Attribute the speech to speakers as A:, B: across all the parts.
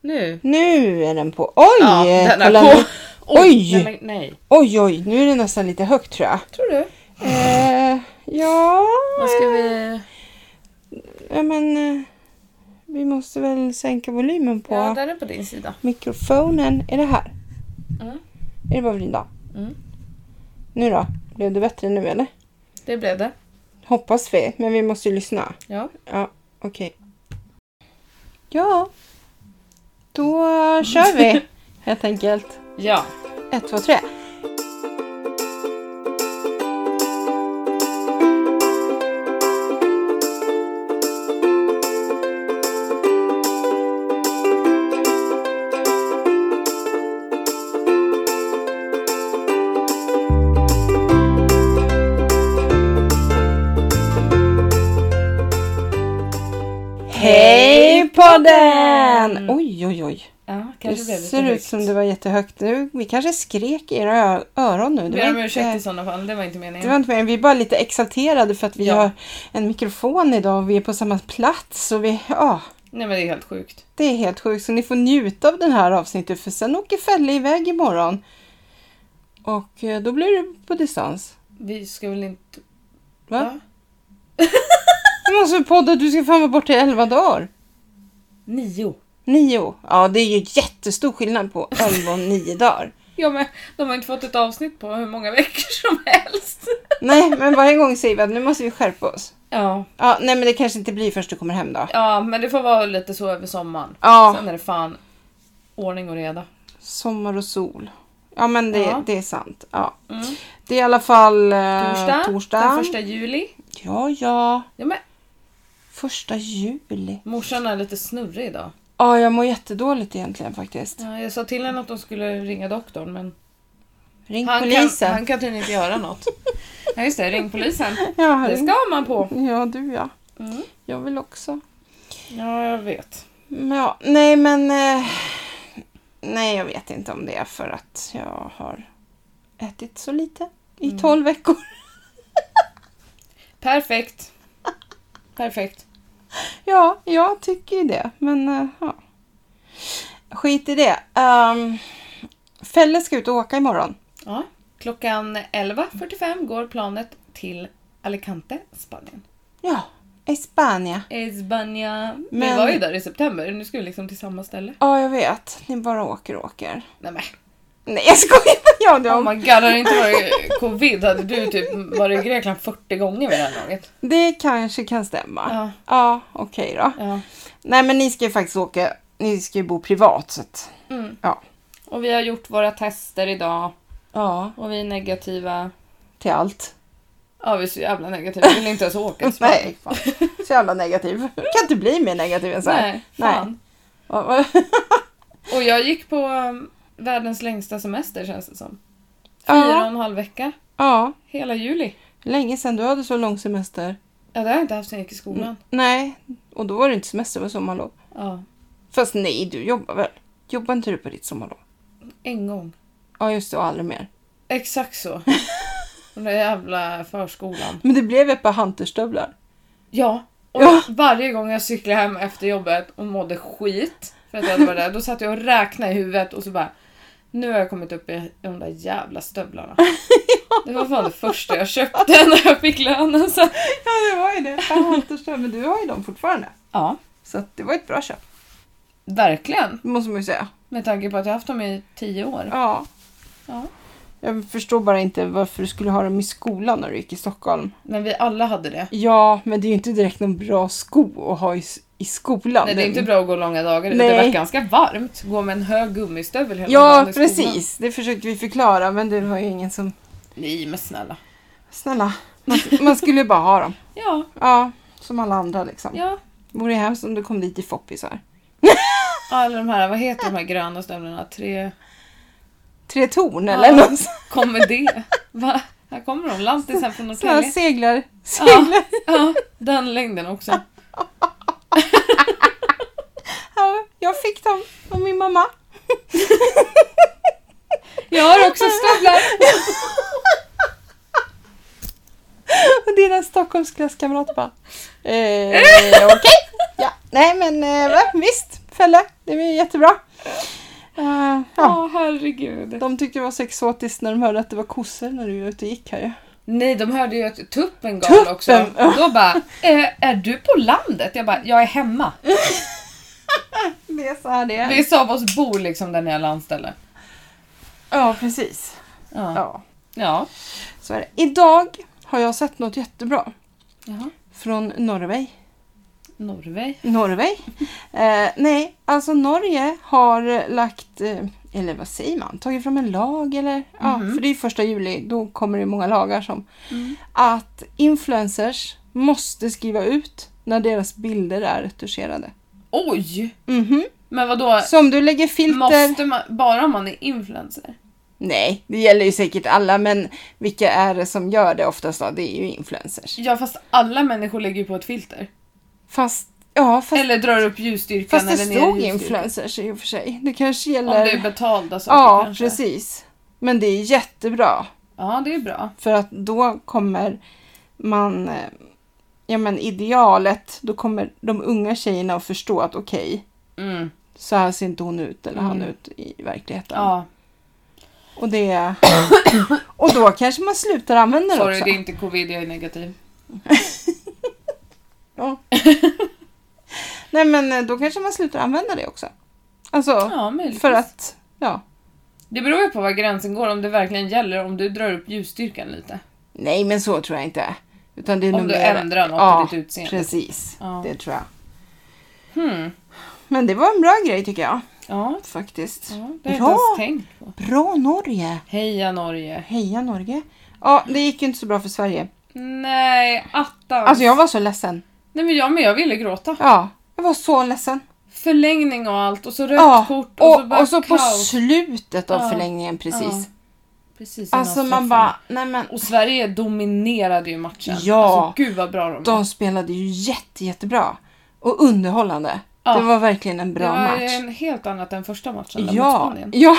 A: Nu.
B: Nu är den på. Oj! eh,
A: Ja, den är
B: kolla
A: på.
B: nu. Oj!
A: Nej, men, nej.
B: Oj, oj, nu är det nästan lite högt tror jag.
A: Tror du?
B: Eh, ja,
A: Vad ska vi...
B: ja, men eh, vi måste väl sänka volymen på
A: Ja, den är på din sida.
B: mikrofonen. Är det här?
A: Mm.
B: Är det bara för din dag?
A: Mm.
B: Nu då? Blev det bättre nu eller?
A: Det blev det.
B: Hoppas vi, men vi måste ju lyssna.
A: Ja.
B: Ja, okej. Ja, då kör vi helt enkelt.
A: Ja.
B: Ett, två, tre. Hej podden! Oj, oj, oj.
A: Ja, kanske
B: Det
A: blev lite
B: ser ut som det var jättehögt. Nu, vi kanske skrek i era ö- öron nu.
A: Ber
B: Det
A: om
B: var,
A: ursäkt i
B: inte,
A: sådana fall, det var inte meningen.
B: det var inte meningen. Vi är bara lite exalterade för att vi
A: Ja.
B: har en mikrofon idag och vi är på samma plats. Och vi, ja,
A: Nej men det är helt sjukt.
B: det är helt sjukt. Så ni får njuta av den här avsnittet för sen åker Felle iväg imorgon. Och eh, då blir det på distans.
A: Vi ska väl inte...
B: Va? Vi måste podda. Du ska fan vara borta i elva dagar.
A: Nio.
B: Nio. Ja, det är ju jättestor skillnad på elva och nio dagar.
A: Ja men de har inte fått ett avsnitt på hur många veckor som helst.
B: Nej, men varje gång säger vi att nu måste vi skärpa oss.
A: Ja,
B: Ja, nej men det kanske inte blir först du kommer hem då.
A: ja men det får vara lite så över sommaren.
B: Ja,
A: Sen är det fan ordning och reda.
B: sommar och sol. Ja men det,
A: Ja.
B: det är sant. Ja.
A: Mm.
B: Det är i alla fall eh,
A: Torsdag,
B: torsdag.
A: den första juli.
B: Ja, ja.
A: Ja, men
B: Första juli.
A: morsan är lite snurrig idag.
B: Ja, jag mår jättedåligt egentligen faktiskt.
A: Ja, jag sa till henne att hon skulle ringa doktorn men
B: Ring
A: han kan,
B: polisen.
A: han kan tydligen inte göra något. Ja just det, ring polisen.
B: Ja,
A: Det
B: ring.
A: ska man på.
B: ja, du ja.
A: Mm.
B: Jag vill också.
A: Ja, jag vet.
B: Men ja, nej men... Eh, nej, jag vet inte om det är för att jag har ätit så lite i
A: Mm.
B: 12 veckor.
A: Perfekt. Perfekt.
B: Ja, jag tycker ju det. Men eh, ja. Skit i det. Um, Felle ska ut och åka imorgon.
A: Ja. Klockan 11.45 går planet till Alicante, Spanien.
B: Ja, Espania.
A: Espanja. Vi
B: Men-
A: var ju där i september, nu ska vi liksom till samma ställe.
B: Ja, jag vet. Ni bara åker och åker.
A: Nej men,
B: Nej, jag skojar! Ja, det,
A: oh my god, hade det inte varit covid hade du typ varit i Grekland 40 gånger vid det här laget.
B: det kanske kan stämma. Ja,
A: Ja,
B: okej då.
A: ja.
B: Nej, men ni ska ju faktiskt åka. Ni ska ju bo privat. Så att,
A: Mm.
B: Ja.
A: Och vi har gjort våra tester idag
B: ja,
A: och vi är negativa.
B: till allt.
A: Ja, vi är så jävla negativa. Vi vill inte ens åka till Spanien.
B: Nej, fan. Så jävla negativ. kan inte bli mer negativ än så här.
A: Nej, fan.
B: Vad- vad-
A: Och jag gick på um, världens längsta semester känns det som. Fyra och
B: Ja,
A: en halv vecka.
B: ja.
A: Hela juli.
B: Länge sedan du hade så lång semester.
A: Ja, det har jag inte haft sen jag gick i
B: Mm.
A: skolan.
B: Nej, och då var det inte semester, det var sommarlov.
A: Ja,
B: Fast nej, du jobbar väl? Jobbar inte du på ditt sommarlov?
A: en gång.
B: Ja, just det, och aldrig mer.
A: Exakt så. Den där jävla förskolan.
B: Men det blev ett par hunterstövlar.
A: Ja. Och
B: Ja.
A: varje gång jag cyklade hem efter jobbet och mådde skit för att jag hade varit där, då satt jag och räknade i huvudet och så bara nu har jag kommit upp i de där jävla stövlarna. Det var fan det första jag köpte när jag fick alltså. lönen. Så.
B: Ja, det var ju det. Ett par hunterstövlar, men du har ju dem fortfarande.
A: Ja,
B: Så att det var ett bra köp,
A: verkligen.
B: det måste man ju säga.
A: Med tanke på att jag haft dem i tio år.
B: Ja.
A: Ja.
B: Jag förstår bara inte varför du skulle ha dem i skolan när du gick i Stockholm.
A: Men vi alla hade det.
B: Ja, men det är ju inte direkt någon bra sko att ha i, s- i skolan.
A: Nej, det är inte bra att gå långa dagar. Det
B: Nej.
A: var ganska varmt. Gå med en hög gummistövel hela
B: Ja,
A: dagen i skolan.
B: precis. Det försökte vi förklara, men det var ju ingen som...
A: Nej, men snälla.
B: Snälla, man, man skulle ju bara ha dem.
A: Ja,
B: Ja, som alla andra liksom.
A: ja.
B: Vore det hemskt om du kom dit i foppisar.
A: Alla de här, vad heter de här gröna stövlarna? Tre...
B: Tre torn
A: Ja.
B: eller något sånt.
A: Kommer det? Va? Här kommer de. Lantisen från
B: Såna här
A: Norrtälje.
B: seglar.
A: Ja,
B: seglar.
A: ja, den längden också.
B: Ja. Jag fick dem av min mamma.
A: Jag har också stövlar.
B: Och dina Stockholms klasskamrater bara. Eh, Okej. Ja. Nej men eh, va? visst. Fälle, det var ju jättebra. Eh, ja.
A: Ja, herregud.
B: De tyckte det var så exotiskt när de hörde att det var kossor när du var ute och gick här ju.
A: Nej, de hörde ju att tuppen gal
B: Tuppen,
A: också.
B: ja.
A: Då bara, eh, är du på landet? Jag bara, jag är hemma.
B: Det är så här det
A: Vi sa oss bor liksom där nere landställe.
B: Ja, precis.
A: Ja.
B: Ja,
A: Ja.
B: så är det. Idag har jag sett något jättebra
A: Jaha.
B: från Norge.
A: Norvej.
B: Norge? Eh, nej, alltså Norge har lagt, eh, eller vad säger man, tagit fram en lag eller? Ja,
A: Mhm.
B: för det är första juli, då kommer det många lagar som
A: Mm.
B: att influencers måste skriva ut när deras bilder är retuscherade.
A: Oj!
B: Mhm.
A: Men vadå?
B: Så om du lägger filter...
A: Måste man, bara om man är influencer?
B: Nej, det gäller ju säkert alla, men vilka är det som gör det oftast då? Det är ju influencers.
A: Ja fast alla människor lägger ju på ett filter.
B: Fast, ja, fast,
A: Eller drar upp ljusstyrkan
B: fast det
A: eller ner
B: stod
A: ljusstyrkan.
B: influencers i och för sig. Det kanske
A: Om
B: gäller...
A: det är betalda saker
B: ja,
A: kanske.
B: precis. Men det är jättebra,
A: Ja, det är bra.
B: för att då kommer man... eh, Ja, men idealet, då kommer de unga tjejerna att förstå att okej,
A: Mm.
B: så här ser inte hon ut eller han
A: Mm.
B: ut i verkligheten.
A: Ja,
B: Och det... Och då kanske man slutar använda det
A: sorry
B: också.
A: det är inte covid, jag är negativ.
B: Nej men eh, då kanske man slutar använda det också. Alltså,
A: Ja, möjligtvis.
B: för att... Ja.
A: Det beror ju på var gränsen går, om det verkligen gäller om du drar upp ljusstyrkan lite.
B: Nej men så tror jag inte. Utan det är
A: Om
B: nog
A: du
B: mer-
A: ändrar något
B: ja,
A: i ditt utseende.
B: precis.
A: Ja.
B: Det tror jag.
A: Hmm.
B: Men det var en bra grej tycker jag.
A: Ja,
B: Faktiskt.
A: ja, det har jag inte
B: Bra.
A: ens tänkt på.
B: Bra Norge!
A: Heja Norge!
B: Heja Norge! Ja, det gick ju inte så bra för Sverige.
A: Nej, attans!
B: Alltså jag var så ledsen.
A: Nej men jag med, jag ville gråta.
B: Ja, jag var så ledsen.
A: Förlängning och allt och så rött
B: ja,
A: kort och,
B: och,
A: så bara
B: och så på
A: kaos.
B: slutet av
A: Ja.
B: förlängningen precis.
A: Precis innan
B: Alltså man
A: straffarna.
B: bara, nej men
A: Och Sverige dominerade ju matchen.
B: Ja.
A: Alltså gud vad bra de var.
B: De spelade ju jätte, jättebra. Och underhållande.
A: Ja.
B: Det var verkligen en
A: det
B: bra
A: var eh,
B: match.
A: en helt annat än första matchen där mot
B: Ja,
A: Spanien.
B: ja.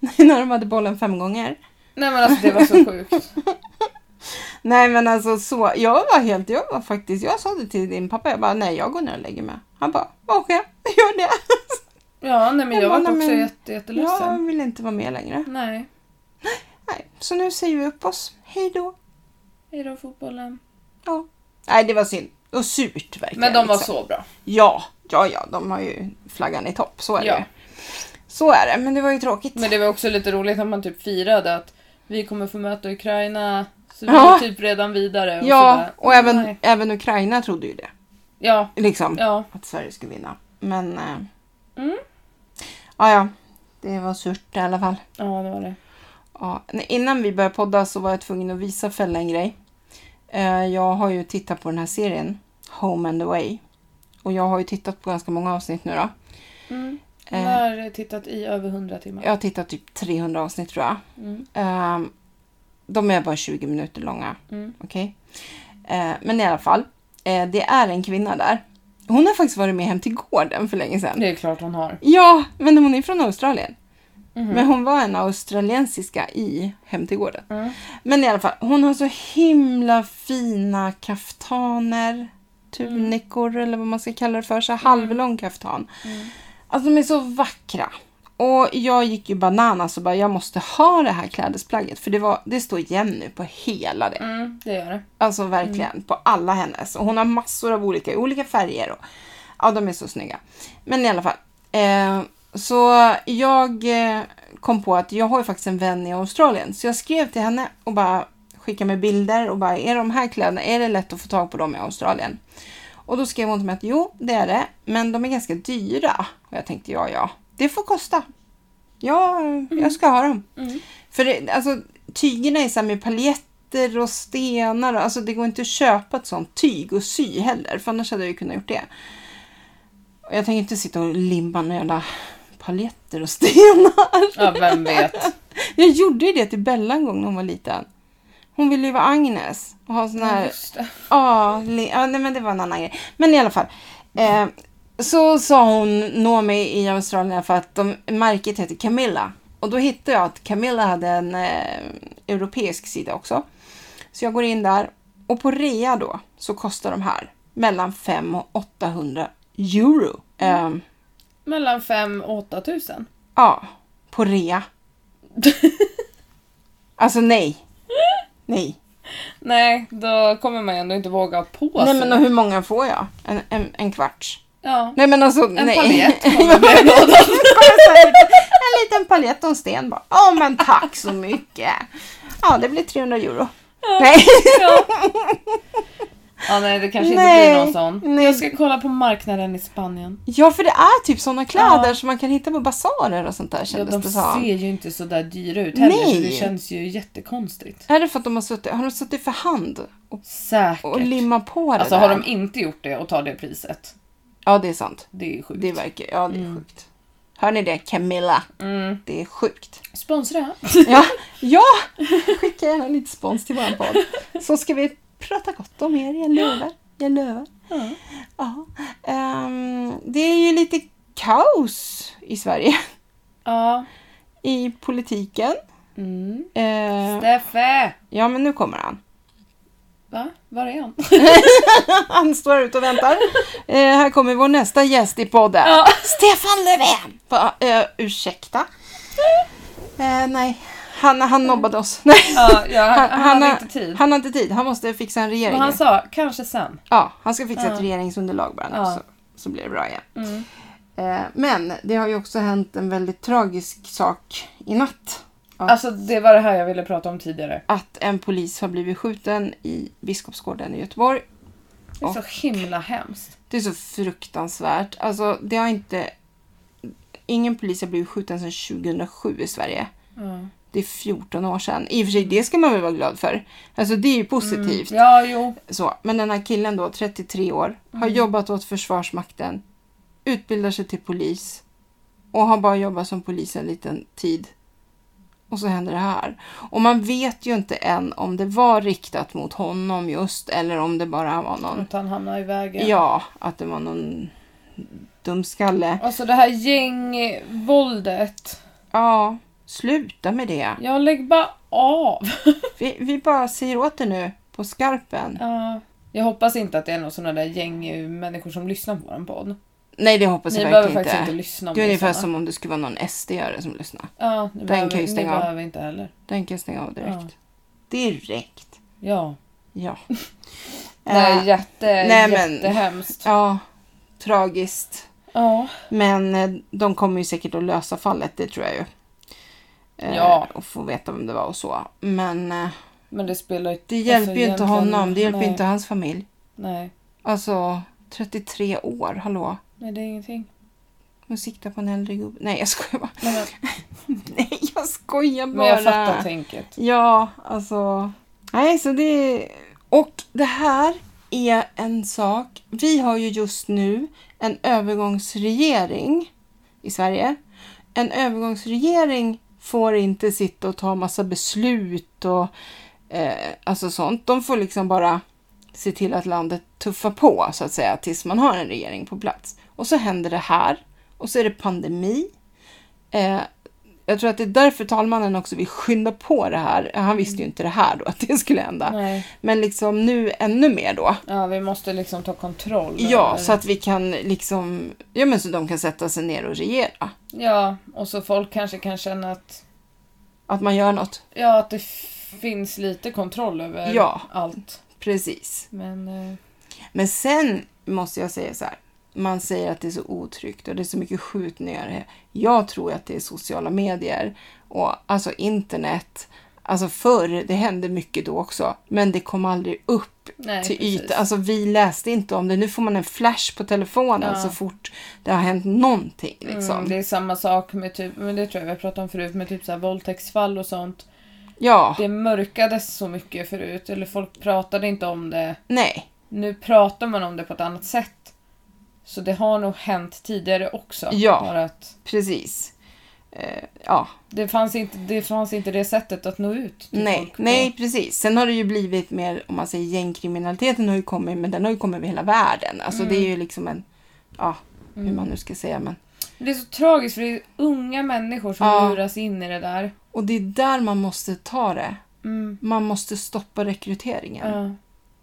B: när de hade bollen fem gånger.
A: Nej men alltså det var så sjukt.
B: Nej men alltså så, jag var helt, jag var faktiskt, jag sa det till din pappa, jag bara nej jag går ner och lägger mig. Han bara, okej, gör det.
A: Ja nej men
B: Jag
A: jag
B: bara,
A: var också
B: nej, men-
A: jätte, jätteledsen.
B: Jag vill inte vara med längre.
A: Nej.
B: Nej, så nu säger vi upp oss, hej då.
A: Hejdå fotbollen.
B: Ja. Nej det var synd, och surt verkligen.
A: Men de var
B: liksom.
A: så bra.
B: Ja, ja ja, de har ju flaggan i topp, så är
A: Ja.
B: det ju. Så är det, men det var ju tråkigt.
A: Men det var också lite roligt att man typ firade att vi kommer få möta Ukraina. Så vi
B: Ja.
A: är typ redan vidare. Och så
B: Ja,
A: bara,
B: och även,
A: nej.
B: även Ukraina trodde ju det.
A: Ja,
B: Liksom,
A: ja.
B: att Sverige skulle vinna. Men... Eh,
A: Mm.
B: Ja, ja. Det var surt i alla fall.
A: Ja det var det.
B: Ja. nej, Innan vi började podda så var jag tvungen att visa Fälla en grej. Eh, jag har ju tittat på den här serien, Home and Away. Och jag har ju tittat på ganska många avsnitt nu då.
A: Mm.
B: Eh,
A: Jag har tittat i över 100 timmar.
B: Jag har tittat typ 300 avsnitt tror jag.
A: Mm.
B: Eh, de är bara 20 minuter långa.
A: Mm.
B: Okej? Eh, men i alla fall, eh, det är en kvinna där. Hon har faktiskt varit med hem till gården för länge sedan.
A: Det är klart hon har.
B: Ja, men hon är från Australien.
A: Mhm.
B: Men hon var en australiensiska i Hem till gården.
A: Mm.
B: Men i alla fall, hon har så himla fina kaftaner, tunikor eller vad man ska kalla det för, så här halvlång kaftan.
A: Mm.
B: Alltså de är så vackra. Och jag gick ju bananas och bara, jag måste ha det här klädesplagget. För det, var, det står igen nu på hela det.
A: Mm, det gör det.
B: Alltså verkligen på alla hennes. Och hon har massor av olika, i olika färger. Och, ja, de är så snygga. Men i alla fall. Eh, så jag eh, kom på att jag har ju faktiskt en vän i Australien. Så jag skrev till henne och bara skickade med bilder och bara är de här kläderna, är det lätt att få tag på dem i Australien? Och då skrev hon till mig att jo, det är det, men de är ganska dyra. Och jag tänkte ja, ja, det får kosta. Ja, jag ska ha dem.
A: Mm.
B: För det, alltså, tygerna är så här med paljetter och stenar. och- Alltså det går inte att köpa ett sånt tyg och sy heller. För annars hade jag ju kunnat gjort det. Och jag tänker inte sitta och limma några jävla paljetter och stenar.
A: Ja, vem vet.
B: Jag gjorde ju det till Bella en gång när hon var liten. Hon ville ju vara Agnes och ha sån här...
A: Just det.
B: Ja, li- ja, nej men det var en annan grej. Men i alla fall. Eh, så sa hon, nå mig i Australien för att de, märket heter Camilla. Och då hittade jag att Camilla hade en eh, europeisk sida också. Så jag går in där och på rea
A: Mm.
B: då så kostar de här mellan 500 och 800 euro. Eh,
A: mellan 5 och 8 tusen.
B: Ja, på rea. alltså nej. Nej.
A: Nej, då kommer man ju ändå inte våga på
B: Nej
A: sig.
B: men och hur många får jag? En, en, en kvarts?
A: ja.
B: Nej men alltså
A: En
B: nej.
A: paljett
B: Ja,
A: kommer bli
B: det
A: lådan.
B: kommer så här lite- Alltså, en liten paljett och en sten bara. Ja men tack så mycket. Ja det blir 300 euro. Nej.
A: Ja. ja, nej det kanske
B: Nej,
A: inte blir någon sån.
B: nej.
A: Jag ska kolla på marknaden i Spanien.
B: Ja för det är typ sådana kläder
A: Ja.
B: som man kan hitta på basarer och sånt där
A: Ja,
B: kändes
A: de
B: det som.
A: ser ju inte så där dyra ut heller, så det
B: Nej.
A: känns ju jättekonstigt.
B: Är det för att de har suttit, har de suttit för hand och,
A: Säkert.
B: och limmat på det
A: alltså har
B: där?
A: de inte gjort det och tar det priset,
B: Ja det är sant.
A: det är sjukt.
B: Det verkar, ja det är sjukt. Hör ni det Camilla?
A: Mm.
B: Det är sjukt.
A: Sponsra!
B: Ja, ja! skicka gärna lite spons till våran podd. Så ska vi prata gott om er, jag lovar. Jag lovar.
A: Ja.
B: Ja. Ehm, det är ju lite kaos i Sverige.
A: ja.
B: I politiken.
A: Mm.
B: Ehm,
A: Steffe!
B: ja, men nu kommer han.
A: Va? Var är han?
B: Han står ute och väntar. Eh, här kommer vår nästa gäst i podden.
A: Ja.
B: Stefan Löfven! Va, eh, ursäkta? Eh, nej, han, han nobbade oss. Nej.
A: Ja, ja, han- han hade
B: har-
A: inte tid.
B: Han har inte tid. Han måste fixa en regering.
A: Men han
B: nu.
A: sa, kanske sen.
B: Ja, han ska fixa
A: Ja.
B: ett regeringsunderlag bara nu
A: Ja.
B: så, så blir det bra igen.
A: Mm.
B: Eh, men det har ju också hänt en väldigt tragisk sak i natt.
A: Alltså det var det här jag ville prata om tidigare.
B: Att en polis har blivit skjuten i Biskopsgården i Göteborg.
A: Det är så himla hemskt.
B: Det är så fruktansvärt. Alltså, det har inte... Ingen polis har blivit skjuten sedan 2007 i Sverige.
A: Ja, Mm.
B: Det är 14 år sedan. I och för sig, det ska man väl vara glad för. Alltså det är ju positivt.
A: ja jo.
B: Så, men den här killen då, 33 år, har
A: Mm.
B: jobbat åt Försvarsmakten, utbildar sig till polis och har bara jobbat som polis en liten tid. Och så händer det här. Och man vet ju inte än om det var riktat mot honom just eller om det bara var någon...
A: Att han hamnar i vägen.
B: Ja, att det var någon dumskalle.
A: Alltså det här gängvåldet.
B: Ja, sluta med det.
A: Jag lägg bara av.
B: Vi, vi bara säger åt det nu på skarpen.
A: Ja. Jag hoppas inte att det är någon sån där gäng människor som lyssnar på våran podd.
B: Nej, det hoppas
A: Ni
B: jag
A: behöver
B: verkligen
A: faktiskt
B: inte.
A: inte lyssna om
B: Det är ungefär
A: såna.
B: som om det skulle vara någon SD-are som lyssnar.
A: Ja, ni behöver,
B: kan ju stänga
A: ni
B: av.
A: behöver inte heller.
B: Den kan jag stänga av direkt.
A: Ja.
B: Direkt.
A: Ja.
B: Ja.
A: Nej,
B: Eh,
A: jätte,
B: nej, men-
A: jättehemskt.
B: ja, tragiskt.
A: Ja.
B: Men eh, de kommer ju säkert att lösa fallet, det tror jag ju. Eh,
A: Ja.
B: Och få veta vem det var och så. Men eh,
A: Men det spelar ju
B: det hjälper ju inte
A: Alltså, egentligen-
B: honom. Det hjälper
A: nej,
B: inte hans familj.
A: Nej.
B: Alltså, 33 år, hallå.
A: Nej, det är ingenting.
B: Hon siktar på en äldre gubbe. Nej, jag skojar bara.
A: Nej, men,
B: Nej, jag skojar bara.
A: men jag fattar tänket.
B: Ja, alltså. Nej, så det... Och det här är en sak. Vi har ju just nu en övergångsregering i Sverige. En övergångsregering får inte sitta och ta massa beslut och eh, alltså sånt. De får liksom bara se till att landet tuffar på så att säga tills man har en regering på plats. Och så händer det här och så är det pandemi. Eh, jag tror att det är därför talmannen också vill skynda på det här. Han visste ju inte det här då, att det skulle hända.
A: Nej.
B: Men liksom nu ännu mer då.
A: Ja, vi måste liksom ta kontroll.
B: Ja,
A: över-
B: så att vi kan liksom, ja men så de kan sätta sig ner och regera.
A: Ja, och så folk kanske kan känna att,
B: Att man gör något.
A: ja, att det f- finns lite kontroll över
B: Ja.
A: allt.
B: Precis.
A: Men eh,
B: Men sen måste jag säga så här. Man säger att det är så otryggt och det är så mycket skjutningar. Jag tror att det är sociala medier och alltså internet. Alltså förr, det hände mycket då också, men det kom aldrig upp
A: nej,
B: till
A: precis.
B: ytan. Alltså vi läste inte om det. Nu får man en flash på telefonen
A: Ja.
B: så fort det har hänt någonting. Liksom.
A: Mm, det är samma sak med typ, men det tror jag vi har pratat om förut, med typ så här våldtäktsfall och sånt.
B: Ja,
A: Det mörkades så mycket förut, eller folk pratade inte om det.
B: nej.
A: Nu pratar man om det på ett annat sätt. Så det har nog hänt tidigare också.
B: Ja.
A: Bara att
B: Precis. Eh, ja,
A: det, fanns inte, det fanns inte det sättet att nå ut till
B: nej,
A: folk. på.
B: nej, precis. Sen har det ju blivit mer, om man säger gängkriminaliteten har ju kommit, men den har ju kommit över hela världen. Alltså det
A: Mm.
B: är ju liksom en, ja, hur man nu ska säga, men.
A: Det är så tragiskt för det är unga människor som
B: Ja.
A: luras in i det där.
B: Och det är där man måste ta det.
A: Mm.
B: Man måste stoppa rekryteringen.
A: Ja. Mm.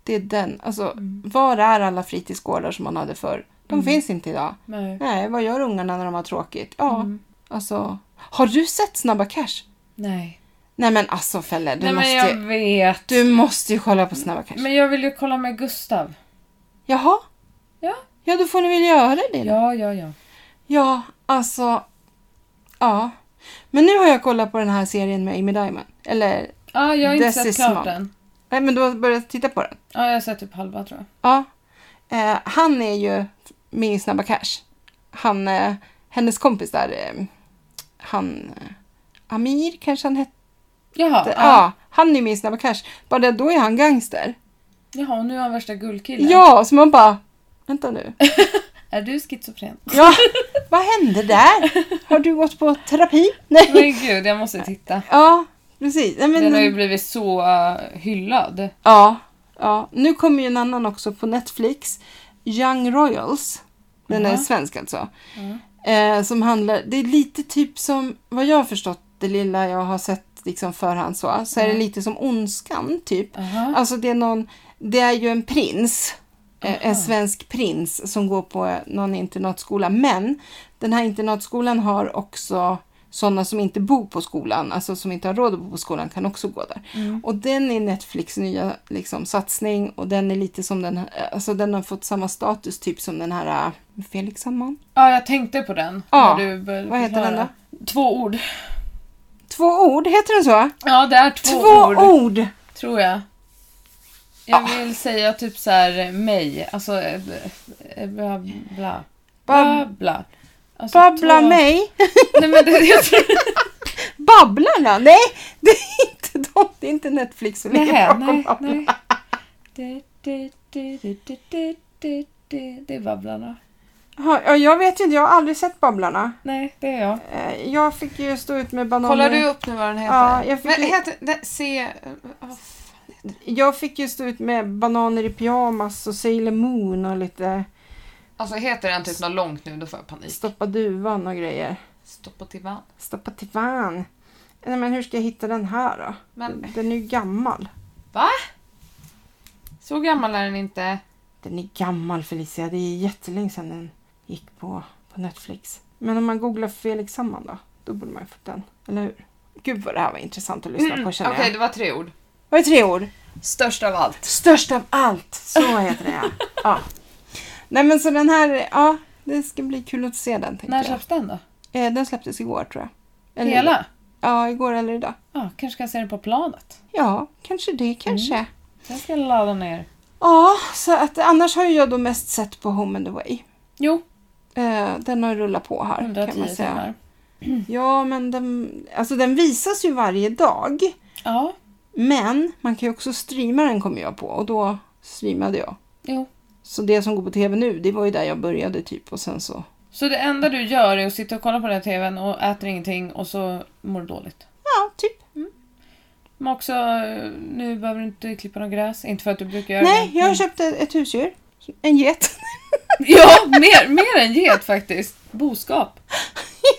B: Det är den, alltså var är alla fritidsgårdar som man hade förr? De finns inte idag.
A: Nej.
B: Nej, vad gör ungarna när de har tråkigt? Ja,
A: Mm.
B: alltså. Har du sett Snabba Cash?
A: Nej.
B: Nej men alltså Felle, du,
A: Nej
B: måste,
A: men jag vet.
B: du måste ju kolla på Snabba Cash.
A: Men jag vill ju kolla med Gustav.
B: Jaha?
A: Ja.
B: Ja, då får ni väl göra det då.
A: Ja, ja, ja.
B: Ja, alltså. Ja. Men nu har jag kollat på den här serien med Amy Diamond. Eller,
A: Ja, jag har inte
B: This
A: sett
B: is
A: klart
B: smart.
A: den.
B: nej men du har börjat titta på den.
A: Ja, jag har sett typ halva tror jag.
B: Ja. Eh, han är ju med i Snabba Cash. Han, eh, hennes kompis där, eh, han, eh, Amir kanske han hette.
A: Jaha,
B: Ja.
A: ja.
B: han är med i Snabba Cash. Bara det, då är han gangster.
A: Jaha, och nu är han värsta guldkillen.
B: Ja, så man bara, vänta nu.
A: Är du schizofren?
B: Ja, vad hände där? Har du gått på terapi? Nej.
A: Men gud, jag måste titta.
B: Ja, precis. Nej, men,
A: Den har ju blivit så eh, hyllad.
B: ja, ja. Nu kommer ju en annan också på Netflix. Young Royals. Den är
A: Jaha.
B: svensk alltså.
A: Ja.
B: Eh, som handlar, det är lite typ som, vad jag har förstått, det lilla jag har sett liksom förhand så, så är det
A: Mm.
B: lite som Ondskan typ.
A: Aha.
B: Alltså det är någon, det är ju en prins. eh,
A: Aha.
B: En svensk prins som går på någon internatskola. Men den här internatskolan har också sådana som inte bor på skolan, alltså som inte har råd att bo på skolan kan också gå där.
A: Mm.
B: Och den är Netflix nya liksom, satsning och den är lite som den, alltså den har fått samma status typ som den här eh, Felix Sandman.
A: Ja, jag tänkte på den.
B: Ja.
A: när du började
B: Vad heter den
A: förklara. Två ord.
B: Två ord, heter den så?
A: Ja, det är två, ord,
B: ord!
A: tror jag.
B: Ah.
A: Jag vill säga typ så här mig. Alltså, eh, eh, bla, bla.
B: Bab-
A: Babbla. Alltså,
B: Babbla
A: två-
B: mig!
A: Nej, men det, jag tror...
B: Babblarna! Nej! Det är inte de, det är inte Netflix som ligger
A: Nej,
B: bakom
A: nej,
B: Babblarna.
A: nej. Du, du, du, du, du, du, du, du. Det är Babblarna.
B: Ja, ja, jag vet ju inte, jag har aldrig sett Babblarna.
A: Nej, det är jag.
B: Eh, Jag fick ju stå ut med bananer.
C: Kollar du upp nu vad den heter?
B: Ja, jag fick
C: Men
B: ju-
C: heter det, se...
A: eh,
C: vad fan.
B: Jag fick ju stå ut med bananer i pyjamas och Sailor Moon och lite
C: Alltså heter den typ något långt nu då får jag panik.
B: stoppa duvan och grejer.
C: Stoppa till vann.
B: Stoppa till fan. Nej men hur ska jag hitta den här då?
C: Men
B: Den är ju gammal.
C: så gammal är den inte.
B: Den är gammal Felicia, det är jättelänge sedan den gick på, på Netflix. Men om man googlar Felix Sandman då, då borde man ju få den. Eller hur? Gud vad det här var intressant att lyssna
A: Mm.
B: på känner
C: Mm, Okej,
B: jag.
C: det var tre ord.
B: Var det tre ord?
C: Störst av allt.
B: Störst av allt, så heter den ja. ja. Nej men så den här, ja det ska bli kul att se den
A: När
B: tänkte
A: släpps den då?
B: jag. Eh, den släpptes igår tror jag. Eller-
A: Hela?
B: Ja, igår eller idag.
A: Ja, kanske kan se den på planet.
B: Ja, kanske det kanske.
A: Den ska jag ladda ner.
B: Ja, så att annars har ju jag då mest sett på Home and Away.
A: Jo,
B: Eh, den har rullat på här kan man
A: 110
B: säga.
A: timmar.
B: Ja, men den, alltså den visas ju varje dag.
A: Ja,
B: Men man kan ju också streama den kommer jag på och då streamade jag.
A: jo.
B: Så det som går på tv nu, det var ju där jag började typ och sen så
A: Så det enda du gör är att sitta och kolla på den här tvn och äter ingenting och så mår du dåligt.
B: Ja, typ.
A: Men också, eh, nu behöver du inte klippa något gräs. Inte för att du brukar göra
B: Nej,
A: det. Mm.
B: jag köpte ett husdjur. En get.
A: Ja, mer, mer än get faktiskt. Boskap.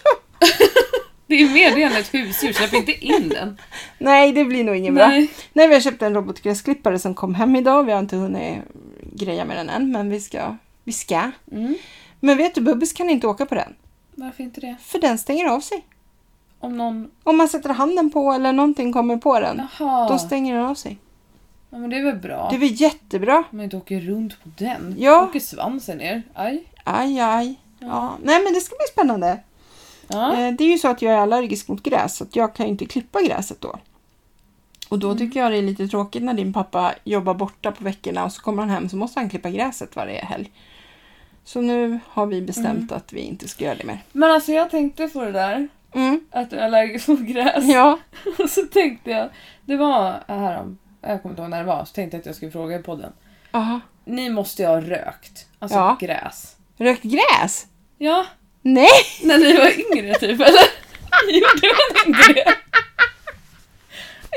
A: det är mer det än ett husdjur. Släpp inte in den.
B: Nej, det blir nog ingen bra. Nej, Nej vi har köpt en robotgräsklippare som kom hem idag. Vi har inte hunnit greja med den än, men vi ska. Vi ska.
A: Mm.
B: Men vet du, Bubbis kan inte åka på den.
A: Varför inte det?
B: För den stänger av sig.
A: Om någon...
B: Om man sätter handen på eller någonting kommer på den,
A: Jaha.
B: då stänger den av sig.
A: ja, men det är väl bra.
B: Det var jättebra.
A: Om man inte åker runt på den.
B: Ja.
A: Åker svansen ner. Aj.
B: Aj, aj. Ja. Nej, men det ska bli spännande.
A: Ja.
B: Eh, Det är ju så att jag är allergisk mot gräs, så att jag kan ju inte klippa gräset då. Och då tycker jag det är lite tråkigt när din pappa jobbar borta på veckorna och så kommer han hem så måste han klippa gräset varje helg. Så nu har vi bestämt att vi inte ska göra det mer.
A: Men alltså jag tänkte på det där.
B: Mm.
A: Att du är allergisk mot gräs.
B: Ja.
A: Och så tänkte jag. Det var härom. Jag kommer inte ihåg när det var. Så tänkte jag att jag skulle fråga i podden.
B: Aha.
A: Ni måste ju ha rökt. Alltså
B: Ja.
A: gräs.
B: Rökt gräs?
A: Ja.
B: Nej!
A: När ni var yngre typ eller? Gjorde man inte det?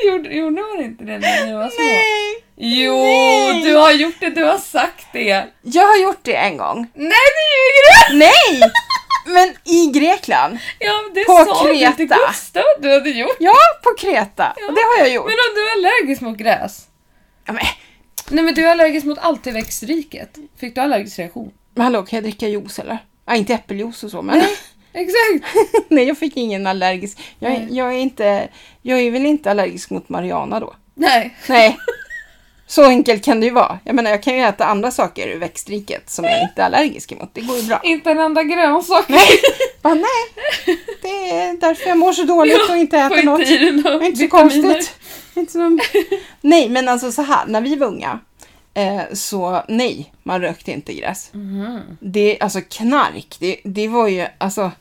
A: Gjorde, gjorde man inte det när ni var små?
B: Nej!
A: Jo,
B: Nej.
A: du har gjort det, du har sagt det.
B: Jag har gjort det en gång.
A: Nej, du ljuger!
B: Nej! Men i Grekland.
A: Ja, men det
B: På
A: sa du till
B: Kreta.
A: Gustav att du hade gjort.
B: Ja, på Kreta. Och det har jag gjort.
A: Men om du är allergisk mot gräs?
B: Ja, men,
A: Nej men du är allergisk mot allt i växtriket. Fick du allergisk reaktion?
B: Men hallå, kan jag dricka juice eller? Ja, inte äppeljuice och så, men
A: Exakt!
B: nej, jag fick ingen allergisk. Jag, är-
A: Nej.
B: jag, är inte, jag är väl inte allergisk mot Mariana då?
A: Nej.
B: Nej, så enkelt kan det ju vara. Jag menar, jag kan ju äta andra saker ur växtriket som jag inte är allergisk emot. Det går ju bra.
A: Inte en enda grönsak.
B: Bara, nej, det är därför jag mår så dåligt och inte
A: Får
B: äter något.
A: inte i dig några
B: Det är inte så
A: vitaminer.
B: konstigt. Det är Inte så... Nej, men alltså så här, när vi var unga eh, så nej, man rökte inte gräs. Det, alltså knark, det, det var ju alltså...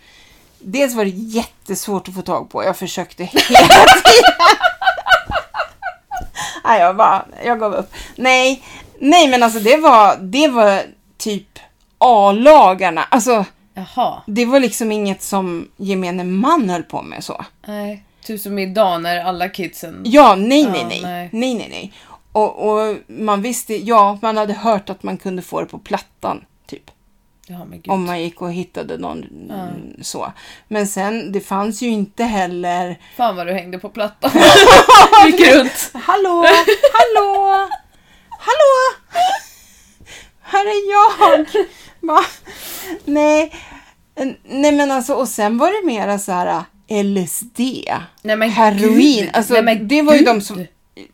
B: Dels var det jättesvårt att få tag på, jag försökte hela tiden. nej, jag bara, jag gav upp. Nej, nej men alltså det var, det var typ A-lagarna. Alltså,
A: Jaha.
B: det var liksom inget som gemene man höll på med så.
A: Nej. Typ som idag när alla kidsen...
B: Ja, nej,
A: Ja,
B: nej, nej.
A: nej.
B: nej, nej, nej. Och, och man visste, ja, man hade hört att man kunde få det på plattan, typ.
A: Ja men gud.
B: Om man gick och hittade någon mm, så. Men sen, det fanns ju inte heller...
A: Fan vad du hängde på plattan. Gick runt.
B: Hallå, hallå, hallå! Här är jag! Va? Nej. nej, men alltså, och sen var det mera så här äh, LSD.
A: Nej men
B: heroin.
A: gud.
B: Alltså,
A: Nej, men
B: det, var ju
A: gud.
B: de som,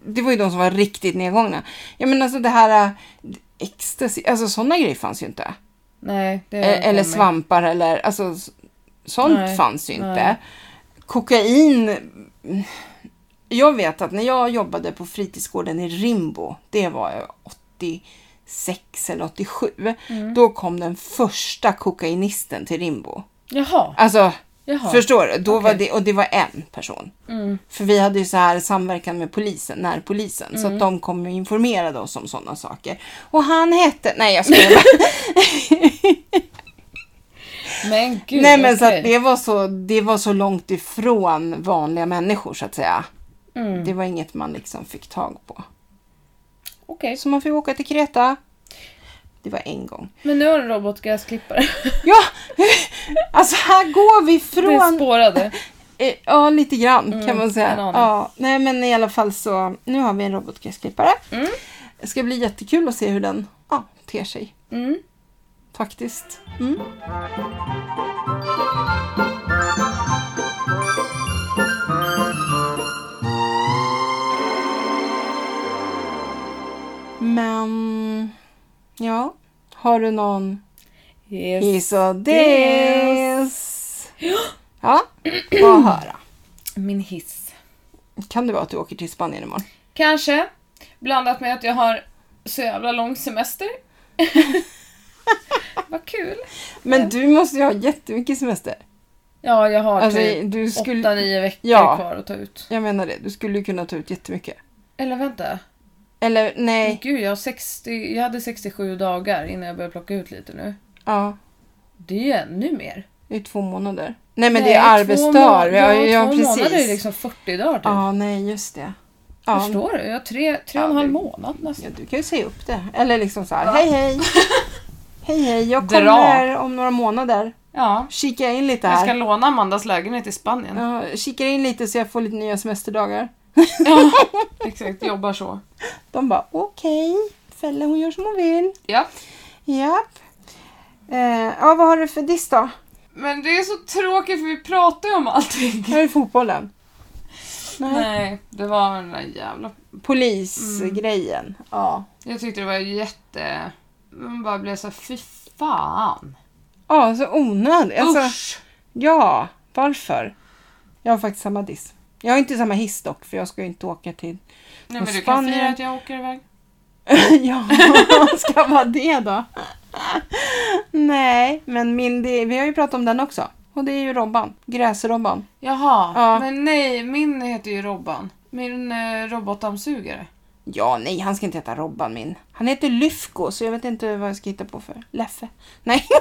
B: det var ju de som var riktigt nedgångna. Ja men alltså det här äh, ecstasy, alltså sådana grejer fanns ju inte.
A: Nej. Det
B: Eh, eller
A: kommer.
B: svampar eller alltså s- sånt
A: Nej,
B: fanns ju inte.
A: nej.
B: Kokain. mm, Jag vet att när jag jobbade på fritidsgården i Rimbo, det var jag 86 eller 87,
A: Mm.
B: då kom den första kokainisten till Rimbo.
A: Jaha.
B: Alltså,
A: Jaha.
B: förstår du? Då var
A: Okej.
B: det, och det var en person.
A: Mm.
B: För vi hade ju så här samverkan med polisen, närpolisen, så
A: Mm.
B: att de kom och informerade oss om sådana saker. Och han hette... Nej, jag skojar bara.
A: Men gud.
B: Nej, men så
A: okej.
B: att det var så, det var så långt ifrån vanliga människor så att säga.
A: Mm.
B: Det var inget man liksom fick tag på.
A: Okej.
B: Så man fick åka till Kreta. Det var en gång.
A: Men nu har du robotgräsklippare.
B: Ja, alltså här går vi
A: Det
B: från...
A: spårade.
B: Eh, Ja, lite grann kan man säga.
A: Mm, en aning.
B: Ja, nej, men i alla fall så, nu har vi en robotgräsklippare.
A: Mm.
B: Det ska bli jättekul att se hur den ja, ter sig.
A: Mm.
B: Faktiskt. Mm. Men, ja. Har du någon
A: Yes.
B: hiss och diss? Ja, vad höra.
A: Min hiss.
B: Kan det vara att du åker till Spanien imorgon?
A: Kanske. Blandat med att jag har så jävla lång semester. Vad kul.
B: Men du måste ju ha jättemycket semester.
A: Ja, jag har
B: Alltså,
A: typ
B: du skulle,
A: 8-9 veckor
B: Ja.
A: kvar att ta ut.
B: jag menar det, du skulle ju kunna ta ut jättemycket.
A: Eller vänta.
B: Eller nej,
A: Gud, jag, har 60, jag hade 67 dagar innan jag började plocka ut lite nu.
B: ja.
A: Det är ju ännu mer.
B: Det är två månader. Nej men det
A: Nej,
B: är arbetsdagar.
A: Två,
B: Ja,
A: ja,
B: ja,
A: två
B: precis.
A: månader är liksom 40 dagar typ.
B: Ja, nej just det. Ja.
A: Förstår du? Jag har tre, tre
B: Ja,
A: och en halv
B: det-
A: månad nästan.
B: Ja, du kan ju säga upp det. Eller liksom så här, hej hej. hej hej, jag
C: Dra.
B: kommer om några månader.
C: Ja.
B: Kika in lite
C: Jag ska
B: här.
C: låna Amandas lägenhet i Spanien.
B: Ja, kika in lite så jag får lite nya semesterdagar.
C: Ja, exakt. Jobbar så.
B: De bara okej, Fälle hon gör som hon vill.
C: Ja.
B: Japp. Eh, ja, vad har du för diss då?
C: Men det är så tråkigt för vi pratar ju om allting.
B: Här är fotbollen. Nej.
C: Nej, det var den där jävla...
B: Polisgrejen. Ja.
C: Jag tyckte det var jätte... Man bara blev så här, fy fan.
B: Ja, så onödig. Alltså,
C: Usch!
B: Ja, varför? Jag har faktiskt samma diss. Jag har inte samma hiss dock, för jag ska ju inte åka till...
C: Nej, men du kan
B: Spanien.
C: fira att jag åker iväg.
B: ja, ska vara det då? Nej, men min di- vi har ju pratat om den också. Och det är ju Robban, gräsrobban.
C: Jaha,
B: Ja.
C: men nej, min heter ju Robban. Min eh, robotdammsugare.
B: Ja, nej, han ska inte heta Robban min. Han heter Lyfko, så jag vet inte vad jag ska hitta på för Leffe. Nej,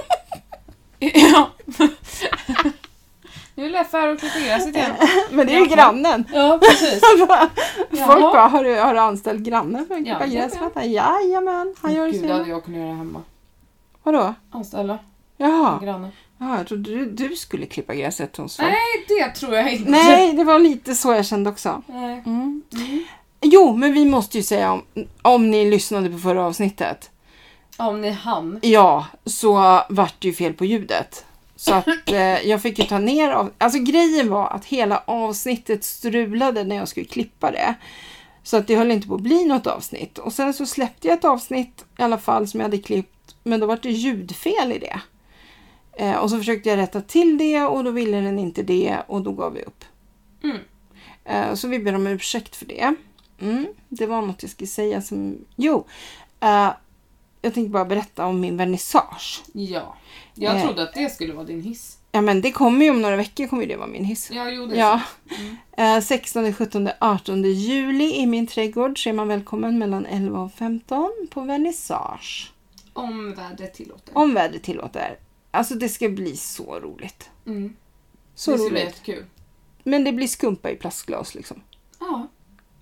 C: Ja. nu är Leffe här och klipper gräset igen.
B: men det är ju
C: Jaha.
B: grannen.
A: Ja, precis.
B: Folk
C: Jaha.
B: bara, har du, har du anställt grannen för att klippa
C: Jajamän.
B: gräs? Jajamän, han gör det
C: Gud,
B: så
C: det hade
B: gärna.
C: jag kunnat göra hemma.
B: Vadå?
C: Anställa
B: Jaha.
C: grannen.
B: Ja, jag trodde du, du skulle klippa gräset hos folk.
C: Mm. Nej, det tror jag inte.
B: Nej, Mm. det var lite så jag kände också.
C: Nej.
B: Jo, men vi måste ju säga om, om ni lyssnade på förra avsnittet.
A: Ja, om ni hann.
B: Ja, så vart det ju fel på ljudet. Så att eh, jag fick ju ta ner av... Alltså grejen var att hela avsnittet strulade när jag skulle klippa det. Så att det höll inte på att bli något avsnitt. Och sen så släppte jag ett avsnitt i alla fall som jag hade klippt. Men då vart det ljudfel i det. Eh, och så försökte jag rätta till det och då ville den inte det och då gav vi upp.
A: Mm.
B: Eh, så vi ber om ursäkt för det. Mm, det var något jag skulle säga som... Jo! Eh, jag tänkte bara berätta om min vernissage.
A: Ja. Jag
B: Eh.
A: trodde att det skulle vara din hiss.
B: Ja men det kommer ju om några veckor kommer ju det vara min hiss.
A: Ja, Mm. jo, det är
B: Ja.
A: så.
B: Eh, 16, 17, 18 juli i min trädgård så är man välkommen mellan 11 och 15 på vernissage.
A: Om vädret tillåter.
B: Om vädret tillåter. Alltså det ska bli så roligt.
A: Mm.
B: Så
A: det ska bli
B: roligt.
A: jättekul.
B: Men det blir skumpa i plastglas liksom.
A: Ja.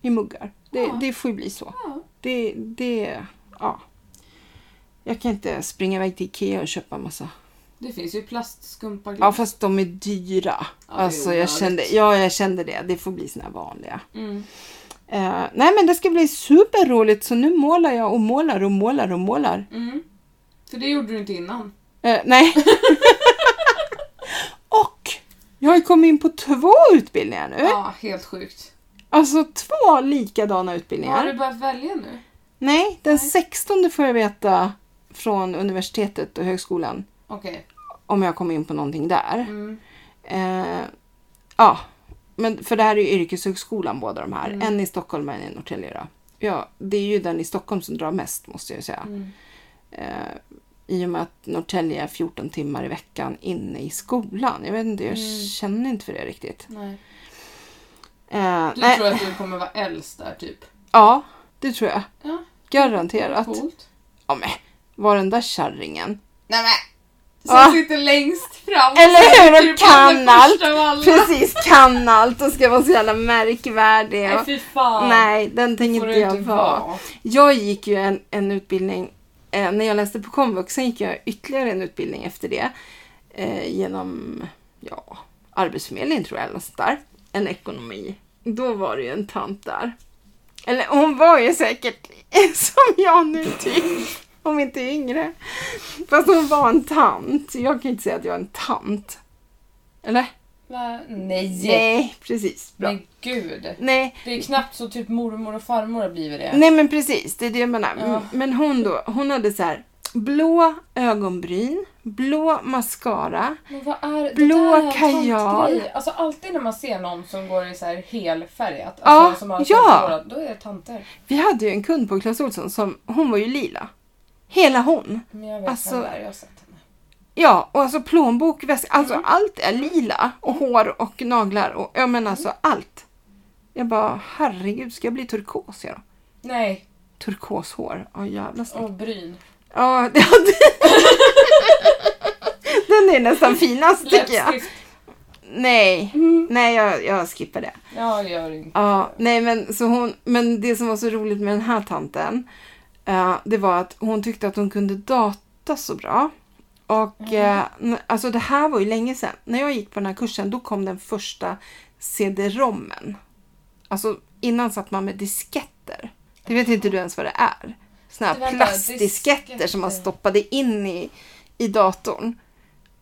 B: I muggar. Det,
A: Ja.
B: det får ju bli så.
A: Ja.
B: Det, det, ja. Jag kan inte springa iväg till Ikea och köpa massa.
A: Det finns ju plastskumpa
B: Ja fast de är dyra.
A: det är
B: alltså jag
A: onödigt.
B: kände, ja, jag kände det. Det får bli såna här vanliga.
A: Mm.
B: Eh, nej men det ska bli superroligt så nu målar jag och målar och målar och målar.
A: Mm. För det gjorde du inte innan.
B: Eh, nej. och jag har ju kommit in på två utbildningar nu.
A: Ja, helt sjukt.
B: Alltså två likadana
A: Har
B: utbildningar.
A: du börjat välja nu?
B: Nej, den 16 får jag veta från universitetet och högskolan
A: Okej.
B: om jag kommer in på någonting där.
A: Mm.
B: Eh, ja, men för det här är ju yrkeshögskolan båda de
A: Mm.
B: här. En i Stockholm och en i Norrtälje. då. Ja, det är ju den i Stockholm som drar mest måste jag ju säga.
A: Mm.
B: eh, i och med att Norrtälje är 14 timmar i veckan inne i skolan. Jag vet inte, jag
A: Mm.
B: känner inte för det riktigt.
A: Nej.
B: Eh,
A: Du
B: nej,
A: tror att du kommer vara äldst där, typ?
B: Ja, det tror jag.
A: Ja.
B: Garanterat.
A: Coolt.
B: Ja, men, var den där kärringen.
A: Nej men! Som
B: Ah.
A: sitter längst fram. och
B: Eller
A: sätter
B: hur,
A: sig
B: och
A: på den
B: kan allt.
A: första av alla.
B: Precis, kan allt och ska vara så jävla märkvärdig.
A: Nej, fy fan.
B: Nej, den tänker
A: Får
B: inte
A: du
B: jag vara. Jag gick ju en, en utbildning, eh, när jag läste på komvux, sen gick jag ytterligare en utbildning efter det. Eh, genom, ja, Arbetsförmedlingen tror jag eller något sånt där. En ekonomi. Då var det ju en tant där. Eller hon var ju säkert som jag nu typ. Om inte yngre. Fast hon var en tant. Jag kan inte säga att jag är en tant. Eller?
A: Va? Nej.
B: Nej, precis. Bra.
A: Men gud.
B: Nej,
A: Det är knappt så typ mormor och farmor har blivit det.
B: Nej men precis, det är det jag menar.
A: Ja.
B: Mm, Men hon då, hon hade så här blå ögonbryn, blå mascara.
A: Men vad är
B: Blå
A: det där är en
B: kajal.
A: tantgrej. Alltså alltid när man ser någon som går i så här helfärgat,
B: Ja,
A: alltså som har
B: ja.
A: svartmålat, då är det tanter.
B: Vi hade ju en kund på Clas Ohlson som, hon var ju lila. Hela hon.
A: Men jag vet
B: Alltså-
A: vem det är, jag har sett henne.
B: Ja, och alltså plånbok, väska, alltså
A: Mm.
B: allt är lila. Och hår och naglar och ja men alltså
A: Mm.
B: allt. Jag bara, herregud, ska jag bli turkos jag då?
A: Nej,
B: Turkoshår, ja jävla snyggt.
A: och bryn.
B: Ja, det Den är nästan finast tycker jag.
A: Läppstift. Mm.
B: Nej, nej jag, jag skippar det.
A: Ja, jag gör inte.
B: Ja, nej men, så hon, men det som var så roligt med den här tanten, eh, det var att hon tyckte att hon kunde data så bra. Och
A: Mm.
B: eh, n- alltså det här var ju länge sedan. När jag gick på den här kursen då kom den första CD-rommen. Alltså innan satt man med disketter. Det vet inte du ens vad det är. Såna
A: Det var
B: här
A: bara
B: plastdisketter som man
A: disketter.
B: stoppade in i, i datorn.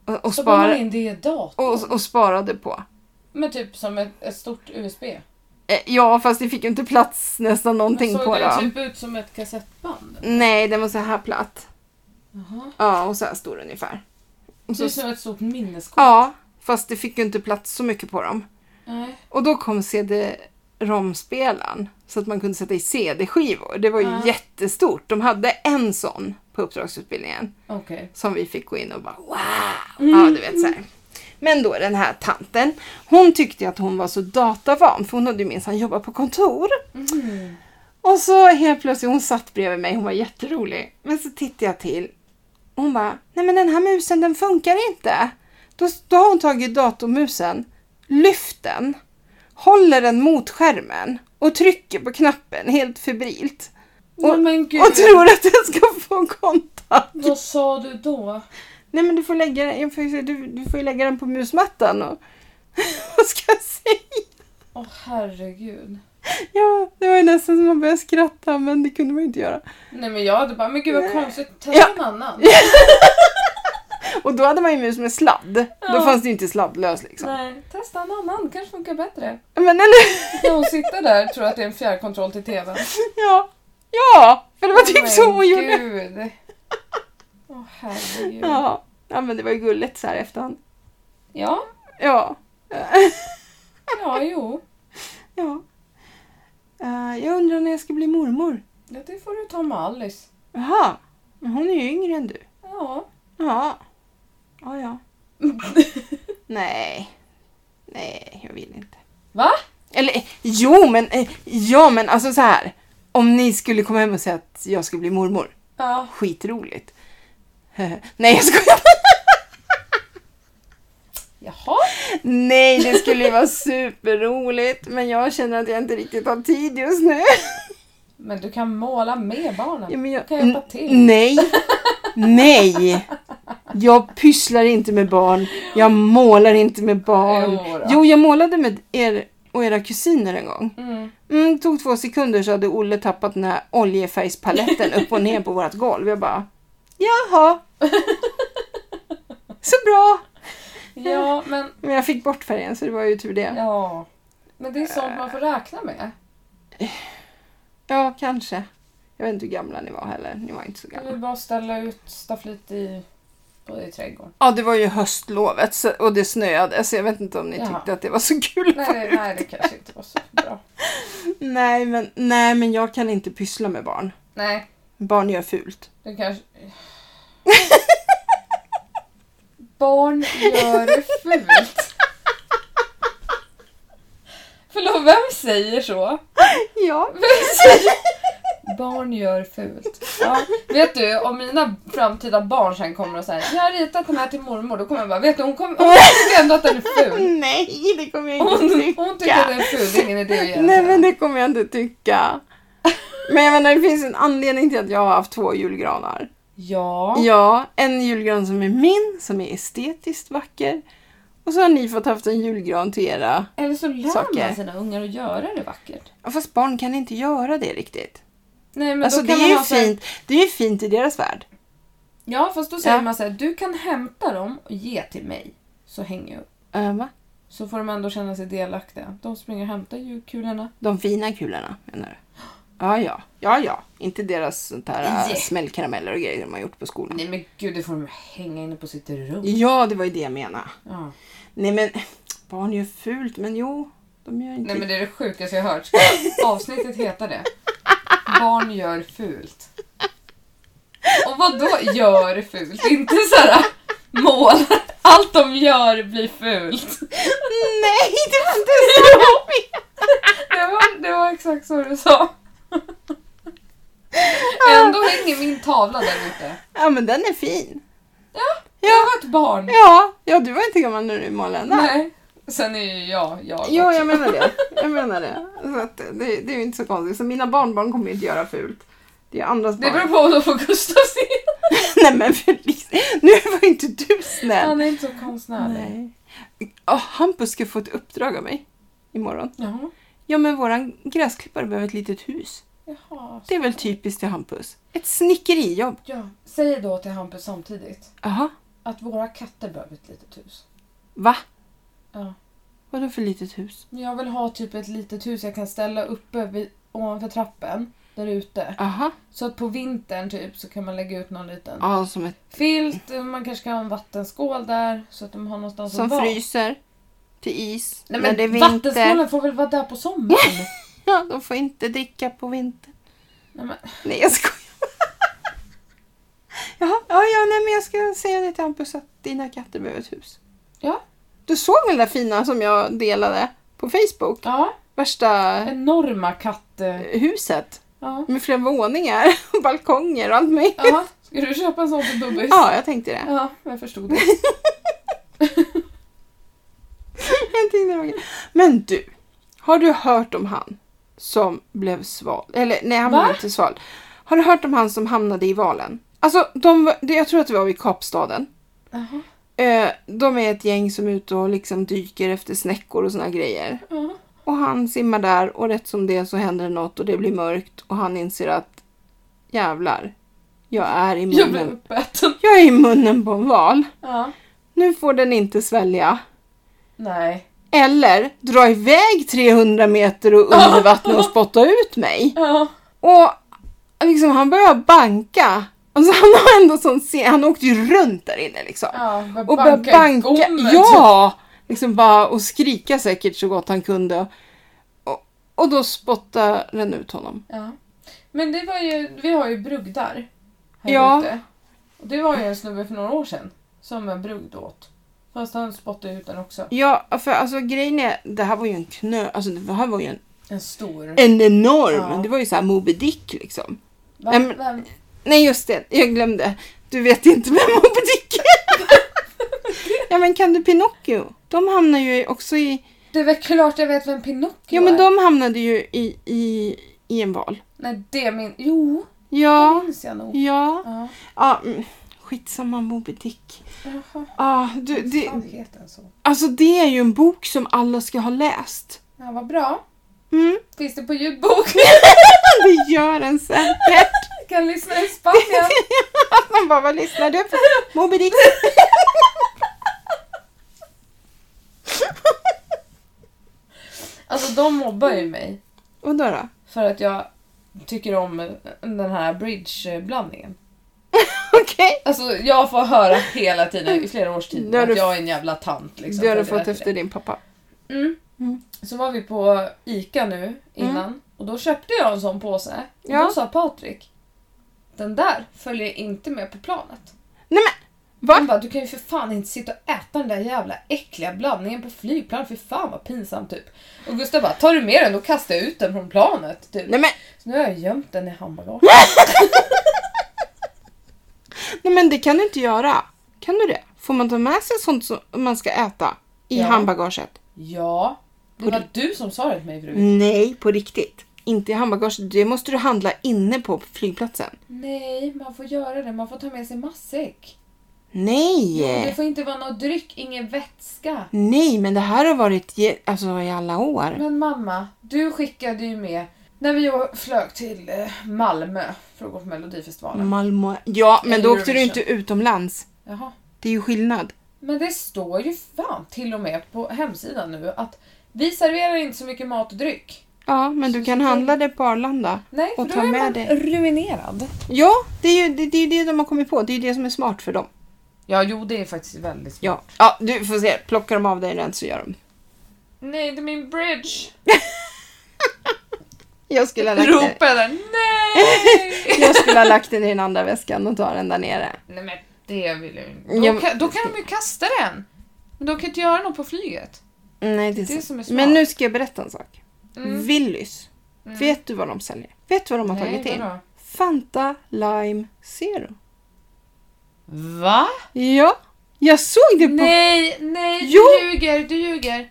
B: Och, och,
A: Så går man
B: spara,
A: in det i datorn.
B: och, och sparade på.
A: Men typ som ett, ett stort USB.
B: Eh, Ja, fast det fick ju inte plats nästan någonting
A: såg
B: på
A: det
B: dem.
A: typ ut som ett kassettband?
B: Nej, den var så här platt.
A: Jaha.
B: Ja, och så här stor ungefär. Och
A: Det
B: så,
A: ser ut som ett stort minneskort.
B: ja, fast det fick ju inte plats så mycket på dem.
A: Nej.
B: Och då kom CD-ROM-spelaren så att man kunde sätta i CD-skivor. Det var ju
A: Ja.
B: jättestort. De hade en sån på uppdragsutbildningen
A: Okej.
B: som vi fick gå in och bara wow. Ja, du vet så här. Men då den här tanten, hon tyckte att hon var så datavan för hon hade ju minsann jobbat på kontor. Mm. Och så helt plötsligt, hon satt bredvid mig, hon var jätterolig. Men så tittade jag till och hon bara, nej men den här musen den funkar inte. Då, då har hon tagit datormusen, lyft den, håller den mot skärmen och trycker på knappen helt febrilt. Och,
A: Nej, men gud.
B: och tror att den ska få kontakt.
A: Vad sa du då?
B: Nej men du får lägga den, jag får, ju säga, du, du får ju lägga den på musmattan och vad ska jag säga?
A: Åh herregud.
B: Ja, det var ju nästan som man började skratta, men det kunde man ju inte göra.
A: Nej men jag hade bara, men gud vad konstigt, testa
B: Ja.
A: en annan.
B: Och då hade man ju mus med sladd. Då
A: Ja.
B: fanns det ju inte sladdlös liksom.
A: Nej, testa en annan, kanske funkar bättre.
B: Men eller
A: När hon sitter där tror jag att det är en fjärrkontroll till tvn.
B: Ja! Ja! För det var typ
A: Men
B: så hon gjorde.
A: Gud. Åh herregud. Ja.
B: Ja. ja, men det var ju gulligt så här i efterhand.
A: ja,
B: Ja.
A: jo.
B: ja. Eh, jag undrar när jag ska bli mormor.
A: Ja, Det får du ta med Alice.
B: Jaha, men hon är ju yngre än du.
A: Ja.
B: Ja. Ja, ja. Nej. Nej, jag vill inte.
A: Va?
B: Eller eh, jo, men eh, ja, men alltså så här. Om ni skulle komma hem och säga att jag skulle bli mormor.
A: Ja.
B: Skitroligt. Nej, jag skojar.
A: Jaha.
B: Nej, det skulle ju vara superroligt. Men jag känner att jag inte riktigt har tid just nu.
A: Men du kan måla med barnen.
B: Ja, men
A: Du kan hjälpa
B: n-
A: till.
B: Nej. Nej. Jag pysslar inte med barn. Jag målar inte med barn.
A: Jo då.
B: Jo, jag målade med er och era kusiner en gång.
A: Mm.
B: Mm, det tog två sekunder så hade Olle tappat den här oljefärgspaletten upp och ner på vårt golv. Jag bara, jaha. Så bra.
A: Ja, men...
B: Men jag fick bort färgen så det var ju tur det.
A: Ja. Men det är sånt man får räkna med.
B: Ja, kanske. Jag vet inte hur gamla ni var heller. Ni var inte så gamla.
A: Eller bara ställa ut staffliet i, på- i trädgården.
B: Ja, det var ju höstlovet så, och det snöade så jag vet inte om ni
A: Jaha.
B: tyckte att det var så kul.
A: Nej, det- nej, det kanske inte var så bra.
B: Nej, men, nej, men jag kan inte pyssla med barn.
A: Nej,
B: Barn gör fult.
A: det kanske... Barn gör fult. Förlåt, vem säger så?
B: Ja.
A: Barn gör fult. Ja, vet du, om mina framtida barn sen kommer och säger jag har ritat den här till mormor, då kommer jag bara, vet du, hon, kommer, hon tycker ändå att den är ful.
B: Nej, det kommer jag inte
A: Hon,
B: tycka.
A: hon tycker att den är ful, det är ingen idé att göra
B: Nej, men det kommer jag inte tycka. Men jag menar, det finns en anledning till att jag har haft två julgranar.
A: Ja.
B: Ja, en julgran som är min, som är estetiskt vacker. Och så har ni fått haft en julgran till era.
A: Eller så lär
B: Saker.
A: man sina ungar att göra det vackert.
B: Ja, Fast barn kan inte göra det riktigt.
A: Nej, men
B: alltså
A: då
B: det
A: kan
B: är
A: man
B: ju
A: ha så här-
B: fint. Det är ju fint i deras värld.
A: Ja, fast då säger
B: Ja.
A: man så här, du kan hämta dem och ge till mig, så hänger jag upp.
B: Äh, va?
A: Så får de ändå känna sig delaktiga. De springer och hämtar julkulorna.
B: De fina kulorna menar du? Ja, ja. Ja, ja. Inte deras sånt här äh,
A: Yeah.
B: smällkarameller och grejer de har gjort på skolan.
A: Nej men gud, det får de hänga inne på sitt rum.
B: Ja, det var ju det jag menade.
A: Ja.
B: Nej, men barn gör fult. Men jo, de gör inte
A: Nej men det är det sjukaste jag har hört. Ska avsnittet heta det? Barn gör fult. Och vad då gör fult? Inte såhär mål. Allt de gör blir fult.
B: Nej, det var inte så jag menade.
A: Det var, det var exakt så du sa. Ändå hänger min tavla där ute.
B: Ja, men den är fin.
A: Ja,
B: Ja.
A: jag var ett barn.
B: Ja, ja du var inte gammal när du målade den.
A: Nej. Sen är ju jag jag
B: Jo,
A: också.
B: jag menar det. Jag menar det. Så att det, det är ju inte så konstigt. Så mina barnbarn kommer ju inte göra fult. Det är andras
A: Det
B: barn.
A: beror på om de får Gustav se.
B: Nej, men Felix, nu var ju inte du snäll.
A: Han är inte så konstnärlig.
B: Nej. Ja, Hampus ska få ett uppdrag av mig imorgon.
A: Jaha.
B: Ja, men våran gräsklippare behöver ett litet hus.
A: Jaha.
B: Det är väl typ- typiskt till Hampus. Ett snickerijobb.
A: Ja, säg då till Hampus samtidigt
B: Jaha,
A: att våra katter behöver ett litet hus.
B: va?
A: Ja.
B: Vadå för litet hus?
A: Men jag vill ha typ ett litet hus jag kan ställa uppe vid, ovanför trappen där ute.
B: Aha.
A: Så att på vintern typ så kan man lägga ut någon liten
B: Ja, som, ett,
A: filt. Man kanske kan ha en vattenskål där så att de har någonstans
B: som
A: att vara.
B: fryser till is
A: Nej,
B: när
A: men
B: det är vinter.
A: vattenskålen får väl vara där på sommaren?
B: Ja, de får inte dricka på vintern.
A: Nej, men,
B: Nej, jag skojar. Jaha, ja, ja, nej, men jag ska säga det till Hampus att dina katter behöver ett hus.
A: ja,
B: Du såg väl den där fina som jag delade på Facebook?
A: ja.
B: Värsta
A: Enorma katter.
B: huset
A: Ja.
B: med flera våningar och balkonger och allt möjligt.
A: Jaha, ska du köpa en sån till Bubbis?
B: Ja, jag tänkte det.
A: Ja, jag förstod det.
B: Jag tänkte det var kul. Men du, har du hört om han som blev sval? Eller nej, han
A: Va?
B: blev inte sval. Har du hört om han som hamnade i valen? Alltså, de, var- det- jag tror att det var vid Kapstaden.
A: Jaha,
B: Eh, de är ett gäng som är ute och liksom dyker efter snäckor och såna grejer.
A: ja.
B: Och han simmar där och rätt som det så händer det något och det blir mörkt och han inser att jävlar, jag är i
A: Jag blev
B: munnen,
A: uppäten.
B: jag är i munnen på en val.
A: Ja.
B: Nu får den inte svälja.
D: Nej.
B: Eller dra iväg 300 meter och under vattnet och spotta ut mig.
A: Ja.
B: Och liksom, han börjar banka. Alltså, han har ändå sån scen, han åkte ju runt där inne liksom.
A: ja. började
B: och började
A: banka i
B: banka.
A: gommen, typ.
B: ja! Liksom bara, och skrika säkert så gott han kunde. Och, och då spottade den ut honom.
A: ja. Men det var ju, vi har ju brugdar här
B: Ja.
A: ute. Och det var ju en snubbe för några år sedan som en brugd åt. Fast han spottade ut den också.
B: Ja, för alltså grejen är, det här var ju en knö, alltså det här var ju en,
A: En stor.
B: en enorm,
A: Ja.
B: det var ju så här Moby Dick liksom.
A: Va?
B: Nej, men-
A: Vem?
B: Nej just det, jag glömde. Du vet inte vem Moby Dick är. ja men kan du Pinocchio? De hamnar ju också i
A: Det är väl klart jag vet vem Pinocchio
B: Ja, men
A: är.
B: de hamnade ju i, i, i en val.
A: Nej, det min... Jo, det
B: Ja,
A: minns jag nog.
B: ja.
A: Ja.
B: ja mm, skitsamma Moby Dick.
A: Jaha.
B: Ja, Ah, du, det,
A: Fan, heter den så?
B: alltså det är ju en bok som alla ska ha läst.
A: Ja, vad bra.
B: Mm.
A: Finns det på ljudbok?
B: Det gör en säkert.
A: Jag kan lyssna i Spanien.
B: Man bara, vad lyssnar du på? Moby Dick.
A: Alltså de mobbar ju mig
B: Och då då?
A: för att jag tycker om eh, den här bridgeblandningen.
B: Okej.
A: Alltså jag får höra hela tiden i flera års tid
B: Det har
A: att
B: du-
A: jag är en jävla tant. Liksom,
B: Det
A: för
B: har du
A: att jag
B: fått
A: lät
B: efter din pappa.
A: det. Mm.
B: Mm.
A: Så var vi på ICA nu innan och då köpte jag en sån påse. Och
B: Ja.
A: Då sa Patrik, den där följer inte med på planet.
B: Nej men! Va?
A: Han bara, du kan ju för fan inte sitta och äta den där jävla äckliga blandningen på flygplan. För fan vad pinsamt typ. Och Gustav bara, tar du med den då kastar jag ut den från planet. Typ.
B: Nej men,
A: Så nu har jag gömt den i handbagaget.
B: nej men det kan du inte göra. Kan du det? Får man ta med sig sånt som man ska äta i
A: Ja.
B: handbagaget?
A: Ja, det var du som sa det till mig
B: Mm.
A: förut.
B: Nej, på riktigt. Inte i handbagaget. Det måste du handla inne på flygplatsen.
A: Nej, man får göra det. Man får ta med sig matsäck.
B: Nej!
A: Det får inte vara någon dryck, ingen vätska.
B: Nej, men det här har varit ge- alltså, i alla år.
A: Men mamma, du skickade ju med när vi å- flög till eh, Malmö för att gå på
B: Mm.
A: Melodifestivalen.
B: Malmö. Ja, men då åkte du
A: Eurovision.
B: inte utomlands.
A: Jaha.
B: Det är ju skillnad.
A: Men det står ju fan till och med på hemsidan nu att vi serverar inte så mycket mat och dryck.
B: Ja, men du kan handla det på Arlanda.
A: Nej, för
B: Och
A: då
B: ta
A: är
B: med
A: man
B: dig.
A: ruinerad.
B: Ja, det är ju det, det, är ju det de har kommit på. Det är ju det som är smart för dem.
A: Ja, jo det är faktiskt väldigt
B: Ja, ja du får se. Plockar de av dig den så gör de.
A: Nej, det är min bridge!
B: Jag skulle ha lagt, den,
A: Ropade jag där. Nej!
B: jag skulle ha lagt den i den andra väskan och ta den där nere.
A: Nej men det vill jag ju inte.
B: Ja,
A: Då,
B: men-
A: kan- då kan de ju kasta den. Men de kan inte göra något på flyget.
B: Mm, Nej, det är,
A: Det är som är smart.
B: Men nu ska jag berätta en sak.
A: Mm.
B: Willys.
A: Mm.
B: Vet du vad de säljer? Vet du vad de har tagit in?
A: vadå?
B: Fanta Lime Zero.
A: Va?
B: Ja, jag såg det på...
A: Nej, nej, du
B: Jo.
A: ljuger, du ljuger.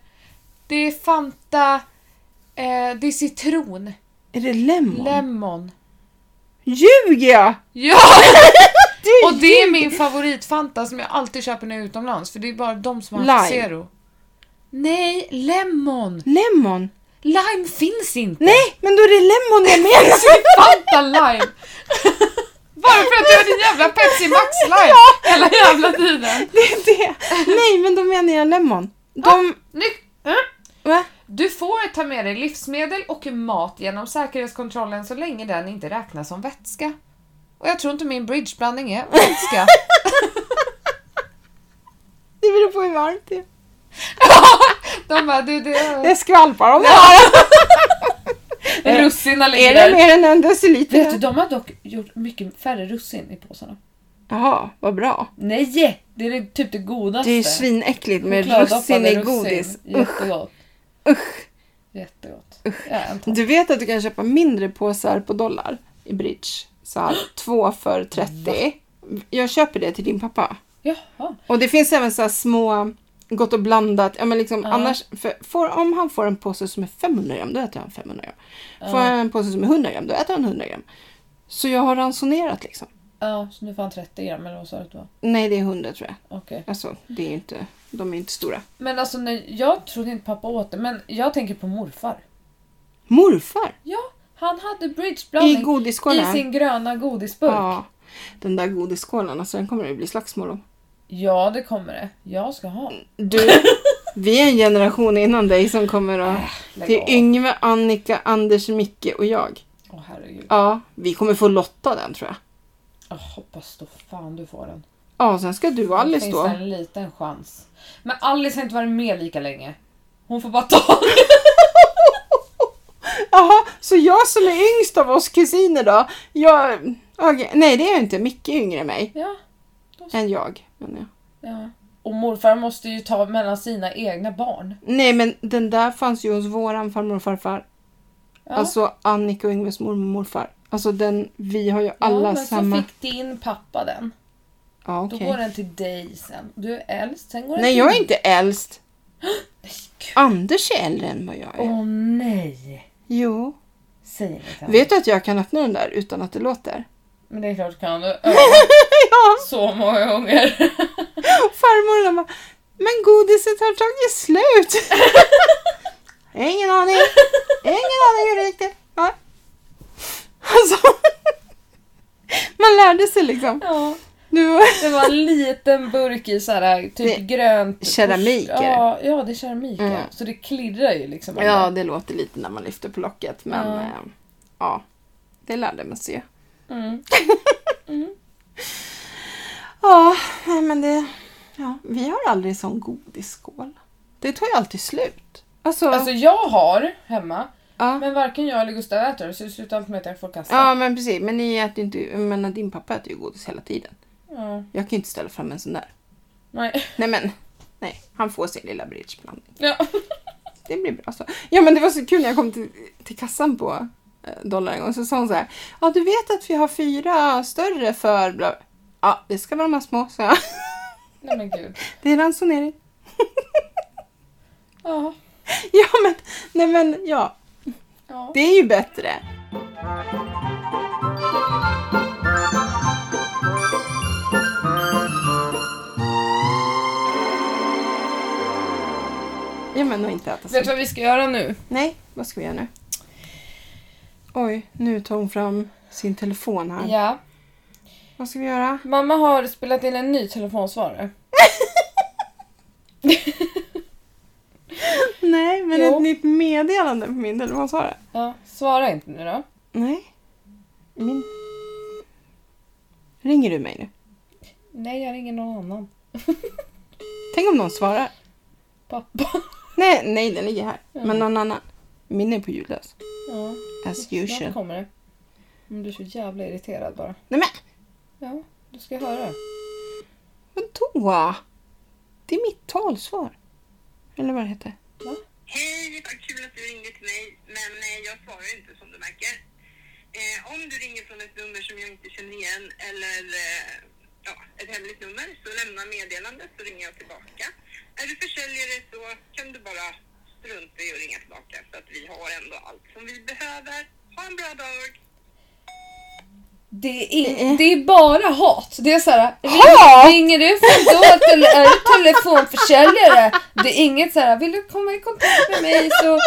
A: Det är Fanta, eh, det är citron,
B: Är det lemon?
A: lemon.
B: Ljuger jag?
A: Ja!
B: Du
A: Och det är min favoritfanta som jag alltid köper när jag är utomlands för det är bara de som har haft
B: Lime.
A: zero. Nej, lemon!
B: Lemon?
A: Lime finns inte!
B: Nej, men då är det lemon jag menar!
A: Fanta lime! Bara för att du har din jävla Pepsi Max lime hela jävla tiden.
B: det är det. Nej, men då menar jag lemon. De...
A: Nu,
B: Va?
A: du får ta med dig livsmedel och mat genom säkerhetskontrollen så länge den inte räknas som vätska. Och jag tror inte min bridgeblandning är vätska.
B: Det beror på hur varmt det är.
A: De bara, du, det är
B: Jag skvalpar om det.
D: Eh,
A: russinen
B: Är
A: ligger
B: det
A: där.
B: mer än en
D: Vet du,
B: deciliter?
D: de har dock gjort mycket färre russin i påsarna.
B: Jaha, vad bra.
D: Nej! Det är det- typ det godaste.
B: Det är ju svinäckligt Alltså, med
D: Chokladdoppade
B: russin i godis. Usch.
D: Jättegott.
B: Usch.
D: Jättegott. Ja, en topp.
B: Du vet att du kan köpa mindre påsar på dollar i bridge? Så här, två för 30. Jag köper det till din pappa.
D: Jaha.
B: Och det finns även så här små gott och blandat. Ja, men liksom,
D: Ja.
B: annars, för, får, om han får en påse som är 500 gram, då äter han 500 gram. Får
D: Ja.
B: han en påse som är 100 gram, då äter han 100 gram. Så jag har ransonerat liksom.
D: Ja, så nu får han 30 gram eller vad sa du att det var?
B: Nej, det är 100 tror jag.
D: Okej.
B: Alltså, det är ju inte... De är inte stora.
A: Men alltså, när, jag trodde inte pappa åt det, men jag tänker på morfar.
B: Morfar!
A: Ja, han hade
B: I
A: bridgeblandning
B: godisskålen.
A: i sin gröna godisburk. Ja.
B: Ja. Den där godisskålen, alltså den kommer det bli slagsmål om.
A: det kommer det. Jag ska ha.
B: Du, vi är en generation innan dig som kommer att...
A: Äh, lägg
B: Det
A: av.
B: är Yngve, Annika, Anders, Micke och jag.
A: Åh herregud.
B: Ja, vi kommer få lotta den tror jag.
A: Jag hoppas då fan du får den.
B: Ja, sen ska du och Alice
A: Finns det
B: då.
A: en liten chans. Men Alice har inte varit med lika länge. Hon får bara ta den.
B: Jaha, så jag som är yngst av oss kusiner då? Jag... okej, nej, det är jag inte. Micke är yngre än mig.
A: Ja,
B: Än jag. menar jag.
A: ja. Och morfar måste ju ta mellan sina egna barn.
B: Nej, men den där fanns ju hos våran farmor och farfar.
A: Ja.
B: Alltså Annika och Yngves mormor och morfar. Alltså den, vi har ju alla
A: ja, men
B: samma...
A: så fick din pappa den.
B: Ja,
A: Då
B: okej.
A: går den till dig sen. Du är äldst, sen går den
B: Nej,
A: till
B: jag är
A: dig.
B: inte äldst.
A: Nej, gud.
B: Anders är äldre än vad jag är.
A: Åh nej!
B: Jo.
A: Säg inget annat.
B: Vet du att jag kan öppna den där utan att det låter?
A: Men det är klart du kan. Du har
B: Ja,
A: så många gånger.
B: farmor den bara, men godiset har tagit slut. Ingen aning. Ingen aning hur det gick till. Ja. Alltså, man lärde sig liksom.
A: ja.
B: Du,
A: Det var en liten burk i så här, typ
B: Det-
A: grönt...
B: keramik är det.
A: ja, ja, det är keramik. ja.
B: Mm.
A: Så det klirrar ju liksom. om
B: ja,
A: det.
B: det låter lite när man lyfter på locket, men
A: Ja.
B: ja, eh, ja det lärde man sig.
A: Mm.
B: Ja, nej, men det... Ja, vi har aldrig sån godisskål. Det tar ju alltid slut. Alltså,
A: Alltså jag har hemma,
B: ja.
A: men varken jag eller Gustav äter det så det slutar alltid med att jag får kasta.
B: ja, men precis. Men ni äter ju inte... Jag menar, din pappa äter ju godis hela tiden.
A: Ja.
B: Jag kan ju inte ställa fram en sån där.
A: Nej.
B: Nej, men... Nej, han får sin lilla bridgeblandning.
A: Ja.
B: Det blir bra så. Ja, men det var så kul när jag kom till, till kassan på eh, Dollar en gång. Så sa hon så här. Ja, du vet att vi har fyra större för... Bla. Ja, det ska vara de här små, så jag.
A: Nej men gud.
B: Det är ransonering.
A: Ja.
B: Ja, men... Nej, men ja.
A: ja.
B: Det är ju bättre. Ja men och inte äta
A: Vet du
B: så.
A: vad vi ska göra nu?
B: Nej, vad ska vi göra nu? Oj, nu tar hon fram sin telefon här.
A: Ja.
B: Vad ska vi göra?
A: Mamma har spelat in en ny telefonsvarare.
B: Nej, men
A: Jo.
B: ett nytt meddelande på min telefonsvarare.
A: Ja. Svara inte nu då.
B: Nej. Min... Ringer du mig nu?
A: Nej, jag ringer någon annan.
B: Tänk om någon svarar.
A: Pappa.
B: Nej, nej den ligger här.
A: Mm.
B: Men någon annan. Min är på ljudlös.
A: Ja.
B: As
A: Snart
B: usual.
A: kommer det. Men du är så jävla irriterad bara.
B: Nej men
A: Ja, du ska höra.
B: vadå? Det är mitt talsvar. Eller vad det heter.
E: Hej, vad kul att du ringde till mig, men eh, jag svarar inte som du märker. Eh, om du ringer från ett nummer som jag inte känner igen eller eh, ja, ett hemligt nummer så lämna meddelandet så ringer jag tillbaka. Är du försäljare så kan du bara strunta i att ringa tillbaka så att vi har ändå allt som vi behöver. Ha en bra dag!
A: Det är, in, det är bara hat. Det är så här, ring,
B: Hat?
A: ringer du från då tele, äh, telefonförsäljare? Det är inget så här, vill du komma i kontakt med mig så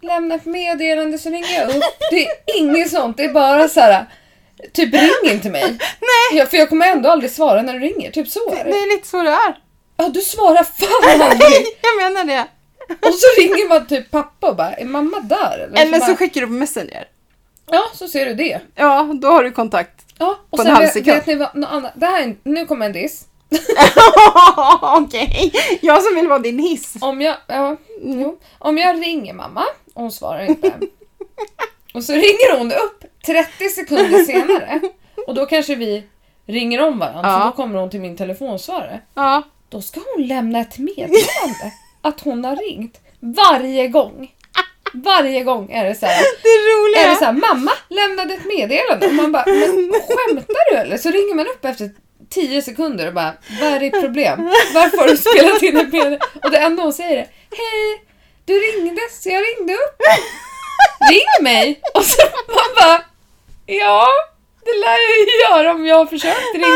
A: lämna ett meddelande så ringer jag upp. Det är inget sånt, det är bara så här, typ ring inte mig.
B: Nej!
A: Ja, för jag kommer ändå aldrig svara när du ringer, typ så är
B: Det
A: det.
B: är lite så det är.
A: Ja, du svarar fan aldrig.
B: Jag menar det.
A: Och så ringer man typ pappa och bara, är mamma där? Eller,
B: Eller så
A: bara,
B: skickar du på Messenger.
A: Ja, så ser du det.
B: Ja, då har du kontakt.
A: Ja, och
B: På en
A: sen
B: halv
A: vet,
B: sekund.
A: vet ni vad, något annat. Det här, är- nu kommer en diss.
B: Okej, jag som vill vara din hiss.
A: Om jag, ja, jo. Om jag ringer mamma och hon svarar inte. och så ringer hon upp 30 sekunder senare. Och då kanske vi ringer om varandra.
B: Ja.
A: Så då kommer hon till min telefonsvarare.
B: Ja.
A: Då ska hon lämna ett meddelande att hon har ringt. Varje gång. Varje gång är det så här.
B: Det är
A: Är det
B: roligt.
A: så här, mamma lämnade ett meddelande. Och man bara, men skämtar du eller? Så ringer man upp efter 10 sekunder och bara, vad är ditt problem? Varför har du spelat in ett meddelande? Och det enda hon säger är, hej, du ringde så jag ringde upp. Ring mig! Och så man bara, ja, det lär jag ju göra om jag har försökt ringa.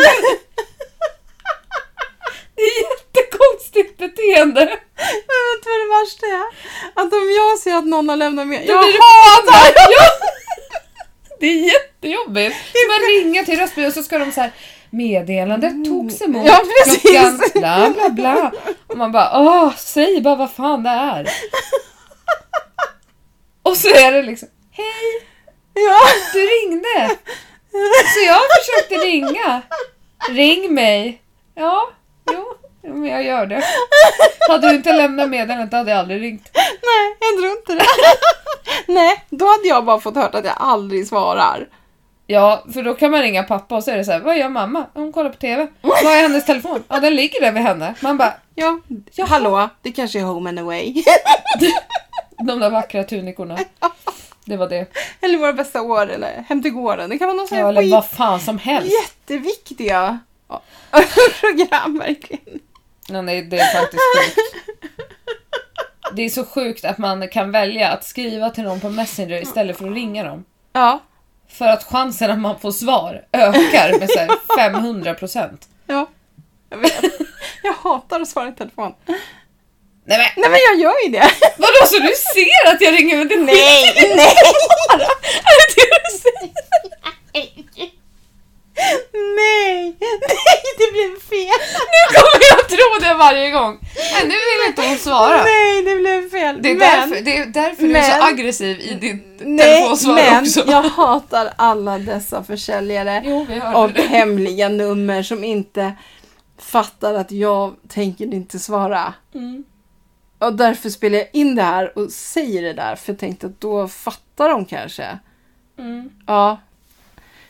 A: Det är jättekonstigt. konstigt beteende.
B: Men vet du vad det värsta är? Att om jag ser att någon har lämnat med... Jag
A: blir du
B: hatar
A: Ja. Det är jättejobbigt. Man ringer till röstbyrån så ska de så här meddelandet togs emot
B: Mm. Ja, precis.
A: klockan bla bla bla. Och man bara åh, säg bara vad fan det är. Och så är det liksom hej,
B: Ja.
A: du ringde. Så jag försökte ringa. Ring mig. Ja, jo, jo, men jag gör det. Hade du inte lämnat meddelandet hade jag aldrig ringt.
B: Nej, jag tror inte det. Nej, då hade jag bara fått höra att jag aldrig svarar.
A: Ja, för då kan man ringa pappa och så är det så här, vad gör mamma? Hon kollar på TV. Vad är hennes telefon? Ja, den ligger där vid henne. Man bara,
B: Ja, hallå, det kanske är home and away.
A: de där vackra tunikorna. Det var det.
B: eller våra bästa år, eller hem till gården. Det kan vara någon sån
A: Ja,
B: här
A: eller
B: skit-
A: vad fan som helst.
B: jätteviktiga ja, program verkligen.
A: Ja, nej, det är faktiskt sjukt. Det är så sjukt att man kan välja att skriva till någon på Messenger istället för att ringa dem.
B: Ja,
A: För att chansen att man får svar ökar med så här 500%.
B: ja. Jag vet. Jag hatar att svara i telefon.
A: Nej men
B: Nej men jag gör ju det.
A: vadå så du ser att jag ringer med din
B: Nej, nej.
A: Är det det du säger?
B: Nej, nej det blev fel.
A: Nu kommer jag tro det varje gång. Nej, nu vill inte hon svara.
B: Nej, det blev fel.
C: Det är
B: men,
C: därför, det är därför du är
B: men-
C: så aggressiv i ditt
B: nej,
C: telefonsvar
B: men
C: också.
B: jag hatar alla dessa försäljare
A: Jo, vi hörde
B: av
A: det.
B: hemliga nummer som inte fattar att jag tänker inte svara.
A: Mm.
B: Och därför spelar jag in det här och säger det där för jag tänkte att då fattar de kanske.
A: Mm.
B: Ja.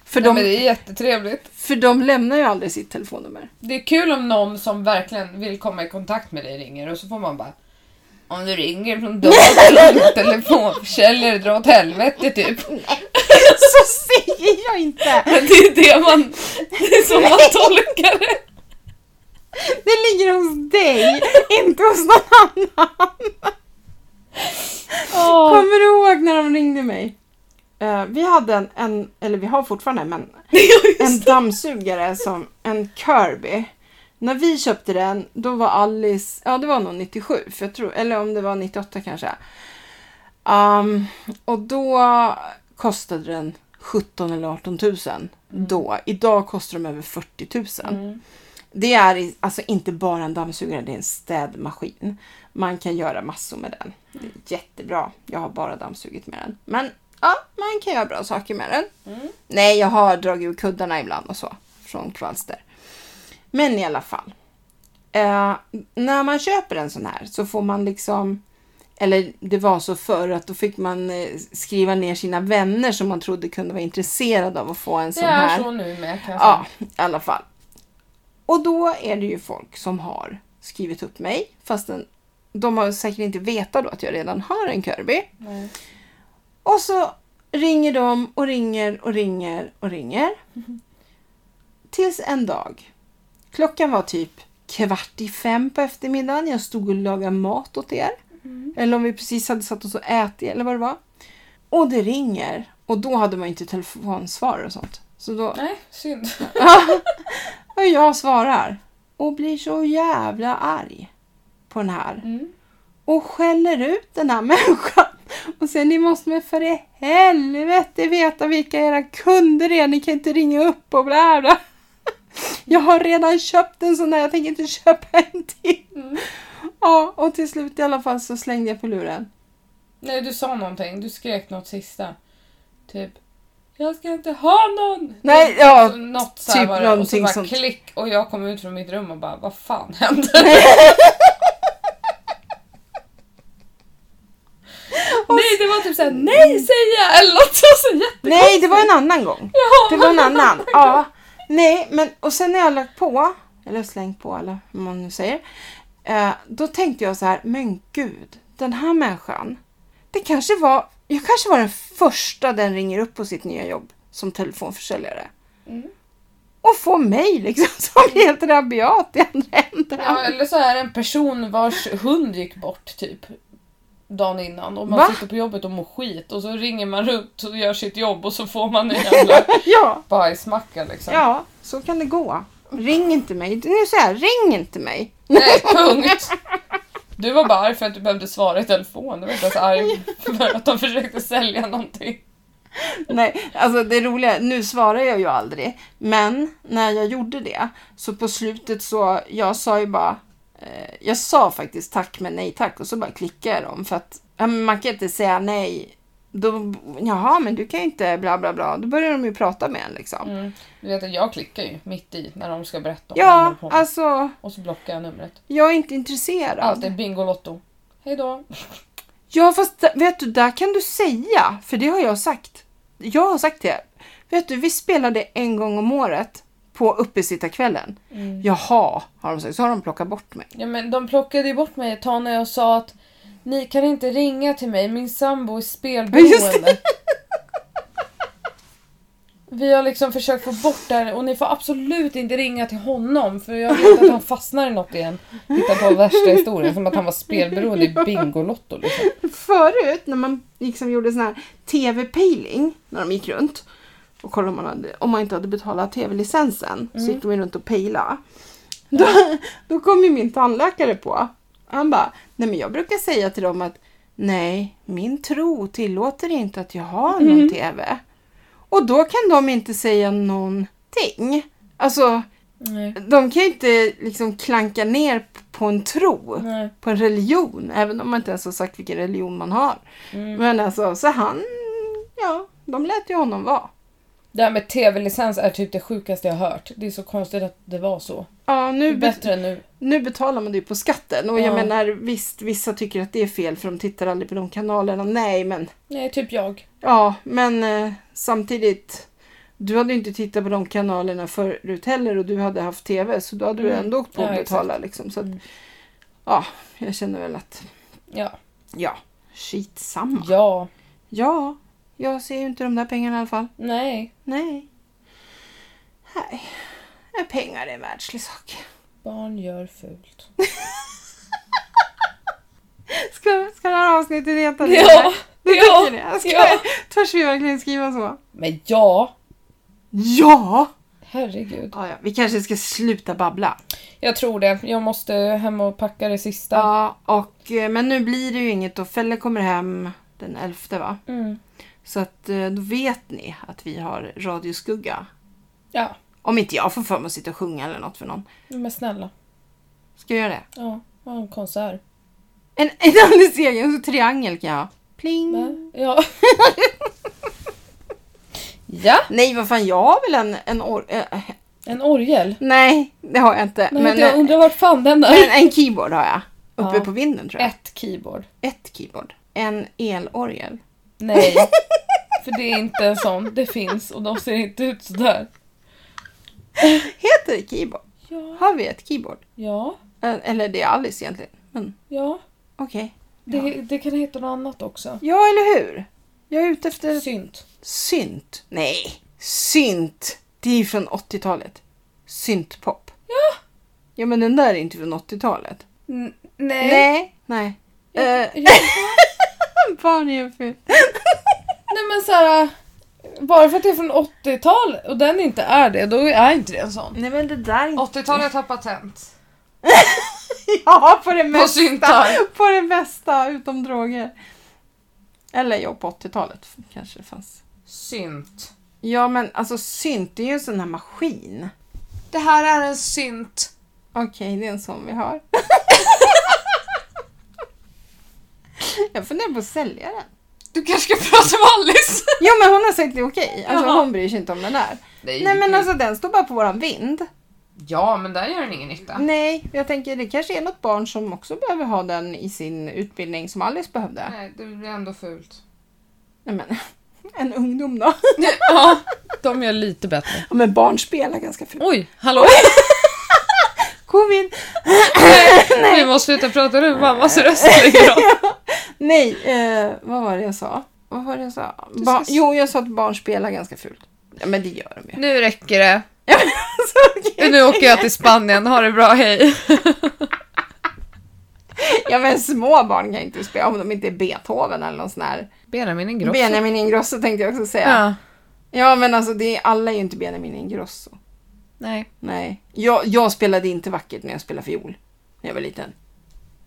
B: För,
A: Nej,
B: de,
A: men det är jättetrevligt.
B: för de lämnar ju aldrig sitt telefonnummer.
A: Det är kul om någon som verkligen vill komma i kontakt med dig ringer och så får man bara om du ringer från datorn, telefonförsäljare, dra åt helvete typ.
B: Så säger jag inte!
A: Det är det man, det är som man tolkar det.
B: Det ligger hos dig, inte hos någon annan. Kommer du ihåg när de ringde mig? Eh, vi hade en, en, eller vi har fortfarande, men en dammsugare som en Kirby. När vi köpte den, då var Alice, ja det var nog 97, för jag tror, eller om det var 98 kanske. Ehm, och då kostade den 17 eller 18 000. Då. Idag kostar de över 40 000. Det är i- alltså inte bara en dammsugare, det är en städmaskin. Man kan göra massor med den. Det är jättebra. Jag har bara dammsugit med den. Men ja, man kan göra bra saker med den. Nej, jag har dragit ur kuddarna ibland och så. Från kvalster. Men i alla fall. Eh, när man köper en sån här så får man liksom eller det var så förr att då fick man eh, skriva ner sina vänner som man trodde kunde vara intresserade av att få en sån
A: Det
B: här.
A: är så nu med kan jag säga.
B: Ja, i alla fall. Och då är det ju folk som har skrivit upp mig, fastän de har säkert inte vetat då att jag redan har en Kirby.
A: Nej.
B: Och så ringer de och ringer och ringer och ringer. Tills en dag. Klockan var typ kvart i fem på eftermiddagen. Jag stod och lagade mat åt er. Eller om vi precis hade satt oss och ätit eller vad det var. Och det ringer. Och då hade man ju inte telefonsvar och sånt. Så då
A: Nej, synd.
B: och jag svarar och blir så jävla arg på den här.
A: Mm.
B: Och skäller ut den här människan. Och säger ni måste med för i helvete veta vilka era kunder är. Ni kan inte ringa upp och bla bla. Jag har redan köpt en sån där. Jag tänker inte köpa en till. Ja, och till slut i alla fall så slängde jag på luren.
A: Nej, du sa någonting. Du skrek något sista. Typ, jag ska inte ha någon!
B: Nej, ja,
A: Så något så här
B: typ
A: var det.
B: någonting
A: Och så bara
B: sånt.
A: klick och jag kom ut från mitt rum och bara, vad fan hände? Nej, det var typ såhär, nej säger jag! Eller något så, så jätte...
B: Nej, det var en annan gång.
A: Ja,
B: Det var en annan. Ja. Nej, men och sen när jag lagt på, eller slängt på eller vad man nu säger. Eh, då tänkte jag så här, men gud, den här människan. Det kanske var, jag kanske var den första den ringer upp på sitt nya jobb som telefonförsäljare. Och får mig liksom som är helt rabiat i andra änden.
A: Ja, eller så är det en person vars hund gick bort typ dagen innan och man
B: Va?
A: sitter på jobbet och mår skit och så ringer man runt och gör sitt jobb och så får man en jävla
B: Ja,
A: bajsmacka liksom.
B: ja, så kan det gå. Ring inte mig. Nu så här, ring inte mig.
A: Nej, punkt. Du var bara arg för att du behövde svara i telefon. Du var inte ens arg för att de försökte sälja någonting.
B: Nej, alltså det roliga, nu svarar jag ju aldrig. Men när jag gjorde det, så på slutet så, jag sa ju bara, eh, jag sa faktiskt tack men nej tack och så bara klickade jag dem för att ja, men man kan inte säga nej. Då, jaha, men du kan ju inte bla bla bla. Då börjar de ju prata med en
A: Mm.
B: liksom.
A: Du vet att jag klickar ju mitt i när de ska berätta om vad de
B: Ja,
A: håller på med.
B: alltså,
A: Och så blockar jag numret.
B: jag är inte intresserad.
A: Alltid Bingolotto. Hej då.
B: Ja, fast d- vet du, där kan du säga, för det har jag sagt. Jag har sagt det. Vet du, vi spelade en gång om året på uppesittarkvällen. Jaha, har de sagt. Så har de plockat bort mig.
A: Ja, men de plockade ju bort mig ett tag när jag sa att ni kan inte ringa till mig, min sambo är
B: Ja, just
A: spelberoende. Vi har liksom försökt få bort det här och ni får absolut inte ringa till honom för jag vet att han fastnar i något igen. Hitta på värsta historien som att han var spelberoende i Bingolotto. Liksom.
B: Förut när man liksom gjorde sån här tv-pejling, när de gick runt och kollade om man, hade, om man inte hade betalat tv-licensen, så gick de ju runt och pejlade. Då, då kom ju min tandläkare på. Han bara, nej men jag brukar säga till dem att nej, min tro tillåter inte att jag har någon tv. Och då kan de inte säga någonting. Alltså,
A: Nej.
B: de kan ju inte liksom klanka ner på en tro
A: Nej.
B: på en religion, även om man inte ens har sagt vilken religion man
A: Mm.
B: har. Men alltså, så han, ja, de lät ju honom vara.
A: Det här med tv-licens är typ det sjukaste jag har hört. Det är så konstigt att det var så.
B: Ja,
A: Det är
B: nu, bet-
A: bättre än nu.
B: nu betalar man det ju på skatten och
A: Ja.
B: jag menar visst, vissa tycker att det är fel för de tittar aldrig på de kanalerna. Nej, men
A: Nej, typ jag.
B: ja, men eh, samtidigt, du hade ju inte tittat på de kanalerna förut heller och du hade haft tv så då hade du
A: Mm.
B: ändå åkt på
A: Ja, Mm.
B: att betala liksom. Så att, ja, jag känner väl att,
A: Ja.
B: ja, skitsamma.
A: Ja.
B: Ja, jag ser ju inte de där pengarna i alla fall.
A: Nej.
B: Nej. Nej. Ja, Pengar är en världslig sak.
A: Barn gör fult.
B: Ska, ska det här avsnittet heta det?
A: Ja,
B: Du
A: ja,
B: tycker det? Ska,
A: ja.
B: Törs vi verkligen skriva så?
A: Men ja.
B: Ja!
A: Herregud.
B: ja, ja. Vi kanske ska sluta babbla.
A: Jag tror det. Jag måste hem och packa det sista.
B: Ja, och, eh, men nu blir det ju inget och Felle kommer hem den 11 va?
A: Mm.
B: Så att eh, då vet ni att vi har radioskugga.
A: Ja,
B: Om inte jag får för mig att sitta och sjunga eller något för någon.
A: men snälla.
B: Ska jag göra det?
A: Ja, ha en konsert.
B: En, en alldeles egen så triangel kan jag ha. Pling!
A: Va? Ja. ja,
B: Nej, vad fan, jag har väl en... en or- eh,
A: en orgel.
B: nej, det har jag inte.
A: Nej,
B: men,
A: jag undrar vart fan den
B: eh, men
A: är.
B: en keyboard har jag. Uppe
A: Ja.
B: på vinden tror jag.
A: Ett keyboard.
B: Ett keyboard. En elorgel.
A: Nej. För det är inte en sån. Det finns och de ser inte ut sådär.
B: Heter det keyboard?
A: Ja,
B: Har vi ett keyboard?
A: ja,
B: Eh, Eller det är Alice egentligen. Men
A: ja.
B: okej.
A: Det, det kan heta något annat också.
B: Ja, eller hur? Jag är ute
A: Mm.
B: efter
A: Synt.
B: synt. Nej, synt. Det är ju från 80-talet. Syntpop.
A: Ja.
B: Ja, men den där är inte från 80-talet.
A: N- nej.
B: Nej. Nej. Eh,
A: Ja.
B: Barn är en ful.
A: Nej men såhär, bara för att det är från 80-tal och den inte är det, då är inte det en sån.
B: Nej men det där är inte...
C: 80-talet har patent.
B: Ja, på det mesta.
C: syntar.
B: På det mesta, utom droger. Eller ja, på 80-talet kanske det fanns.
C: Synt.
B: Ja, men alltså synt, det är ju en sån här maskin.
C: Det här är en synt.
B: Okej, det är en sån vi har. Jag funderar på att sälja den.
C: Du kanske ska prata med Alice?
B: Jo, men hon har sagt det är okej. Alltså,
C: Jaha.
B: hon bryr sig inte om den där. Nej, men alltså den står bara på våran vind.
C: Ja, men där gör den ingen nytta.
B: Nej, jag tänker det kanske är något barn som också behöver ha den i sin utbildning som Alice behövde.
C: Nej, det blir ändå fult.
B: Nej, men, en ungdom då.
A: Ja, de gör lite bättre.
B: Ja, men barn spelar ganska fult.
A: Oj, hallå!
B: Covid!
A: Vi måste sluta prata nu, mammas röst ligger av.
B: Nej, eh, vad var det jag sa? Vad var det jag sa? Ba- jo, jag sa att barn spelar ganska fult. Ja, men det gör de ju.
A: Nu räcker det.
B: Ja, men alltså, okej.
A: Nu åker jag till Spanien, ha det bra, hej!
B: ja, men små barn kan inte spela om de inte är Beethoven eller någon sån här.
A: Benjamin Ingrosso.
B: Benjamin Ingrosso tänkte jag också säga. Ja,
A: Ja.
B: men alltså det är, alla är ju inte Benjamin Ingrosso.
A: Nej,
B: Nej. Jag, jag spelade inte vackert när jag spelade fiol. När jag var liten.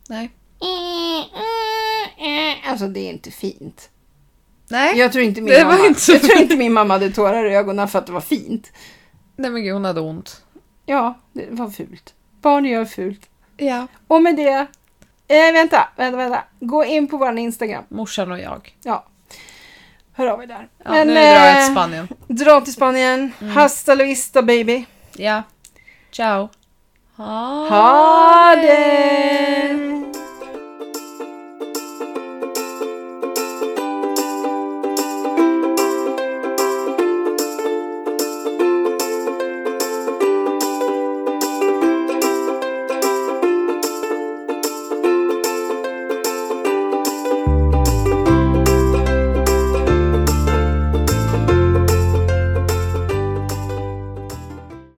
A: nej.
B: Alltså det är inte fint.
A: Nej,
B: Jag tror inte min,
A: Det var
B: mamma,
A: inte så
B: jag tror inte min mamma hade tårar i ögonen för att det var fint.
A: nej men gud hon hade ont.
B: Ja, det var fult. Barn gör fult.
A: Ja.
B: Och med det... Eh, vänta, vänta, vänta. Gå in på vår Instagram.
A: Morsan och jag.
B: Ja. Hör av er där.
A: Ja, nu drar jag till
B: eh,
A: Spanien. Mm.
B: Dra till Spanien. Hasta la vista baby.
A: Ja. Ciao. Ha,
B: Ha det!